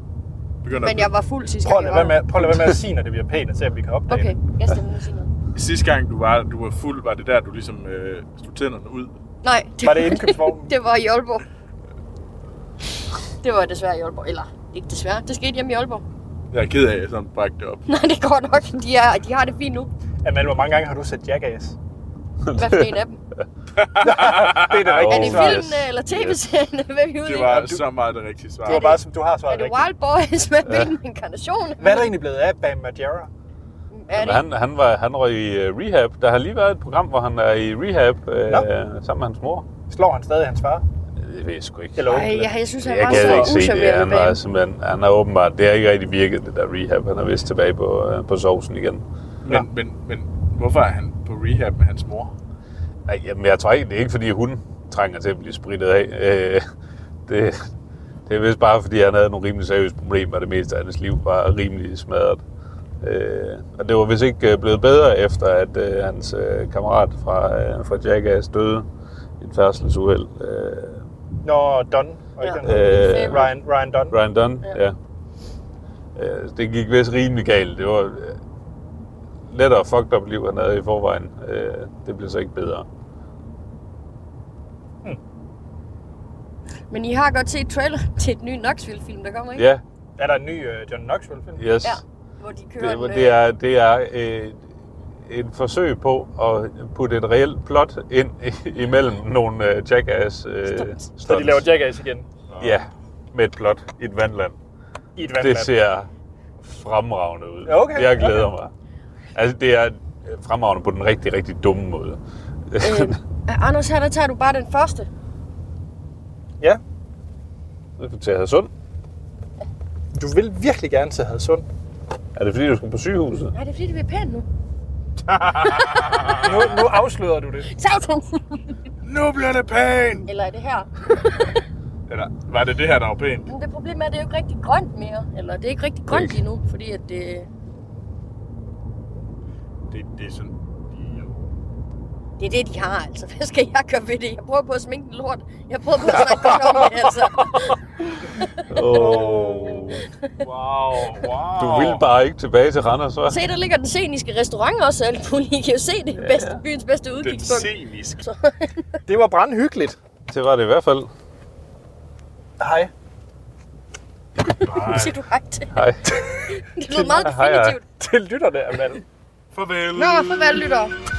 [SPEAKER 4] Begynder
[SPEAKER 3] Men jeg var fuld sidste
[SPEAKER 1] Prøv
[SPEAKER 3] gang,
[SPEAKER 1] at lade
[SPEAKER 3] jeg
[SPEAKER 1] være
[SPEAKER 3] var der.
[SPEAKER 1] med, prøv at lade være med at sige, når det bliver pænt, og se om vi kan opdage
[SPEAKER 3] Okay,
[SPEAKER 1] det.
[SPEAKER 3] jeg skal nu sige noget.
[SPEAKER 4] Sidste gang du var, du var fuld, var det der, du ligesom øh, stod tænderne ud?
[SPEAKER 3] Nej, det
[SPEAKER 1] Var det indkøbsvognen?
[SPEAKER 3] det var i Aalborg. Det var desværre i Aalborg. Eller, ikke desværre. Det skete hjemme i Aalborg.
[SPEAKER 4] Jeg er ked af, at jeg sådan brækte det op.
[SPEAKER 3] Nej, det går nok. De, er, de har det fint nu.
[SPEAKER 1] Amal, hvor mange gange har du set Jackass?
[SPEAKER 3] Hvad for en af dem?
[SPEAKER 1] Det er det
[SPEAKER 3] Er
[SPEAKER 1] rigtige
[SPEAKER 3] det
[SPEAKER 2] Oh,
[SPEAKER 1] svar.
[SPEAKER 2] vildt?
[SPEAKER 3] filmen eller tv-serien? Hvad er vi ude
[SPEAKER 4] Det
[SPEAKER 3] i?
[SPEAKER 4] var
[SPEAKER 1] du-
[SPEAKER 4] så meget det rigtige svar.
[SPEAKER 1] Det var bare, som du har
[SPEAKER 3] Er
[SPEAKER 1] svaret
[SPEAKER 3] det
[SPEAKER 1] rigtigt.
[SPEAKER 3] Wild Boys med hvilken inkarnation?
[SPEAKER 1] Hvad er der egentlig blevet af Bam Margera?
[SPEAKER 3] Er
[SPEAKER 2] Men
[SPEAKER 3] det?
[SPEAKER 2] han, han, var, han røg i øh, rehab. Der har lige været et program, hvor han er i rehab øh, sammen med hans mor.
[SPEAKER 1] Slår han stadig hans far?
[SPEAKER 2] Det ved jeg sgu ikke.
[SPEAKER 1] Eller
[SPEAKER 3] Ej, jeg, jeg synes, han
[SPEAKER 2] jeg
[SPEAKER 3] var
[SPEAKER 2] kan
[SPEAKER 3] så
[SPEAKER 2] ikke se det. Han, var
[SPEAKER 3] usømmelig.
[SPEAKER 2] simpelthen, han har åbenbart, det har ikke rigtig virket, det der rehab. Han er vist tilbage på, øh, på sovsen igen.
[SPEAKER 1] Nå.
[SPEAKER 4] Men, men, men hvorfor er han på rehab med hans mor?
[SPEAKER 2] Nej, jamen, jeg tror ikke, det er ikke fordi hun trænger til at blive spritet af. Øh, det, det er vist bare fordi, han havde nogle rimelig seriøse problemer, og det meste af hans liv var rimelig smadret. Øh, og det var vist ikke øh, blevet bedre efter, at øh, hans øh, kammerat fra, øh, fra Jackass døde i et færdselsuheld. Øh,
[SPEAKER 1] Nå, Don. Var ikke
[SPEAKER 3] Ja.
[SPEAKER 1] den hedder?
[SPEAKER 2] Øh,
[SPEAKER 1] Ryan, Ryan Don.
[SPEAKER 2] Ryan Dunn,
[SPEAKER 3] Ja.
[SPEAKER 2] ja. ja. Øh, det gik vist rimelig galt. Det var øh, lettere fucked up liv, han havde i forvejen. Øh, det blev så ikke bedre.
[SPEAKER 3] Men I har godt set trailer til et ny Knoxville-film, der kommer, ikke?
[SPEAKER 2] Ja,
[SPEAKER 1] Er der en ny uh, John Knoxville-film?
[SPEAKER 2] yes.
[SPEAKER 3] Ja, hvor de kører
[SPEAKER 2] Det,
[SPEAKER 3] en,
[SPEAKER 2] det
[SPEAKER 3] øh,
[SPEAKER 2] er, det er øh, et forsøg på at putte et reelt plot ind imellem nogle øh, jackass øh,
[SPEAKER 3] Stunts.
[SPEAKER 1] Så de laver Jackass igen.
[SPEAKER 2] Ja, med et plot i et vandland.
[SPEAKER 1] i et
[SPEAKER 2] Det
[SPEAKER 1] vandland.
[SPEAKER 2] ser fremragende ud.
[SPEAKER 1] Ja, okay,
[SPEAKER 2] Jeg glæder
[SPEAKER 1] okay.
[SPEAKER 2] mig. Altså, det er fremragende på den rigtig, rigtig dumme måde.
[SPEAKER 1] Øhm.
[SPEAKER 3] Øh, Anders, her der tager du bare den første.
[SPEAKER 1] Ja,
[SPEAKER 2] Du kan tage sund.
[SPEAKER 1] du vil virkelig gerne til Hadsund.
[SPEAKER 2] Er det fordi, du skal på sygehuset?
[SPEAKER 3] Nej, det er fordi, det bliver pænt nu.
[SPEAKER 1] Nu, nu afslører du det.
[SPEAKER 3] Tag du!
[SPEAKER 4] Nu bliver det pænt!
[SPEAKER 3] Eller er det her?
[SPEAKER 4] Eller var det det her, der var pænt?
[SPEAKER 3] Men det problem er, at det er jo ikke rigtig grønt mere. Eller det er ikke rigtig grønt lige nu, fordi at det,
[SPEAKER 4] Det, det er sådan...
[SPEAKER 3] det er det, de har, altså. Hvad skal jeg gøre ved det? Jeg prøver på at sminke den lort. Jeg prøver på at snakke godt om det, altså.
[SPEAKER 2] Oh.
[SPEAKER 4] Wow, wow.
[SPEAKER 2] Du vil bare ikke tilbage til Randers, hva'?
[SPEAKER 3] Se, der ligger den sceniske restaurant også, og alt muligt. I kan jo se det er bedste, byens bedste
[SPEAKER 4] Den
[SPEAKER 3] udkigspunkt.
[SPEAKER 4] scenisk.
[SPEAKER 1] Det var brandhyggeligt.
[SPEAKER 2] Det var det i hvert fald.
[SPEAKER 1] Hej.
[SPEAKER 3] Siger du hej til.
[SPEAKER 2] Hej.
[SPEAKER 3] Det lyder meget
[SPEAKER 2] Hej, hej.
[SPEAKER 3] definitivt.
[SPEAKER 1] Til lytterne, Amal.
[SPEAKER 4] Farvel.
[SPEAKER 3] Nå, farvel, lytter.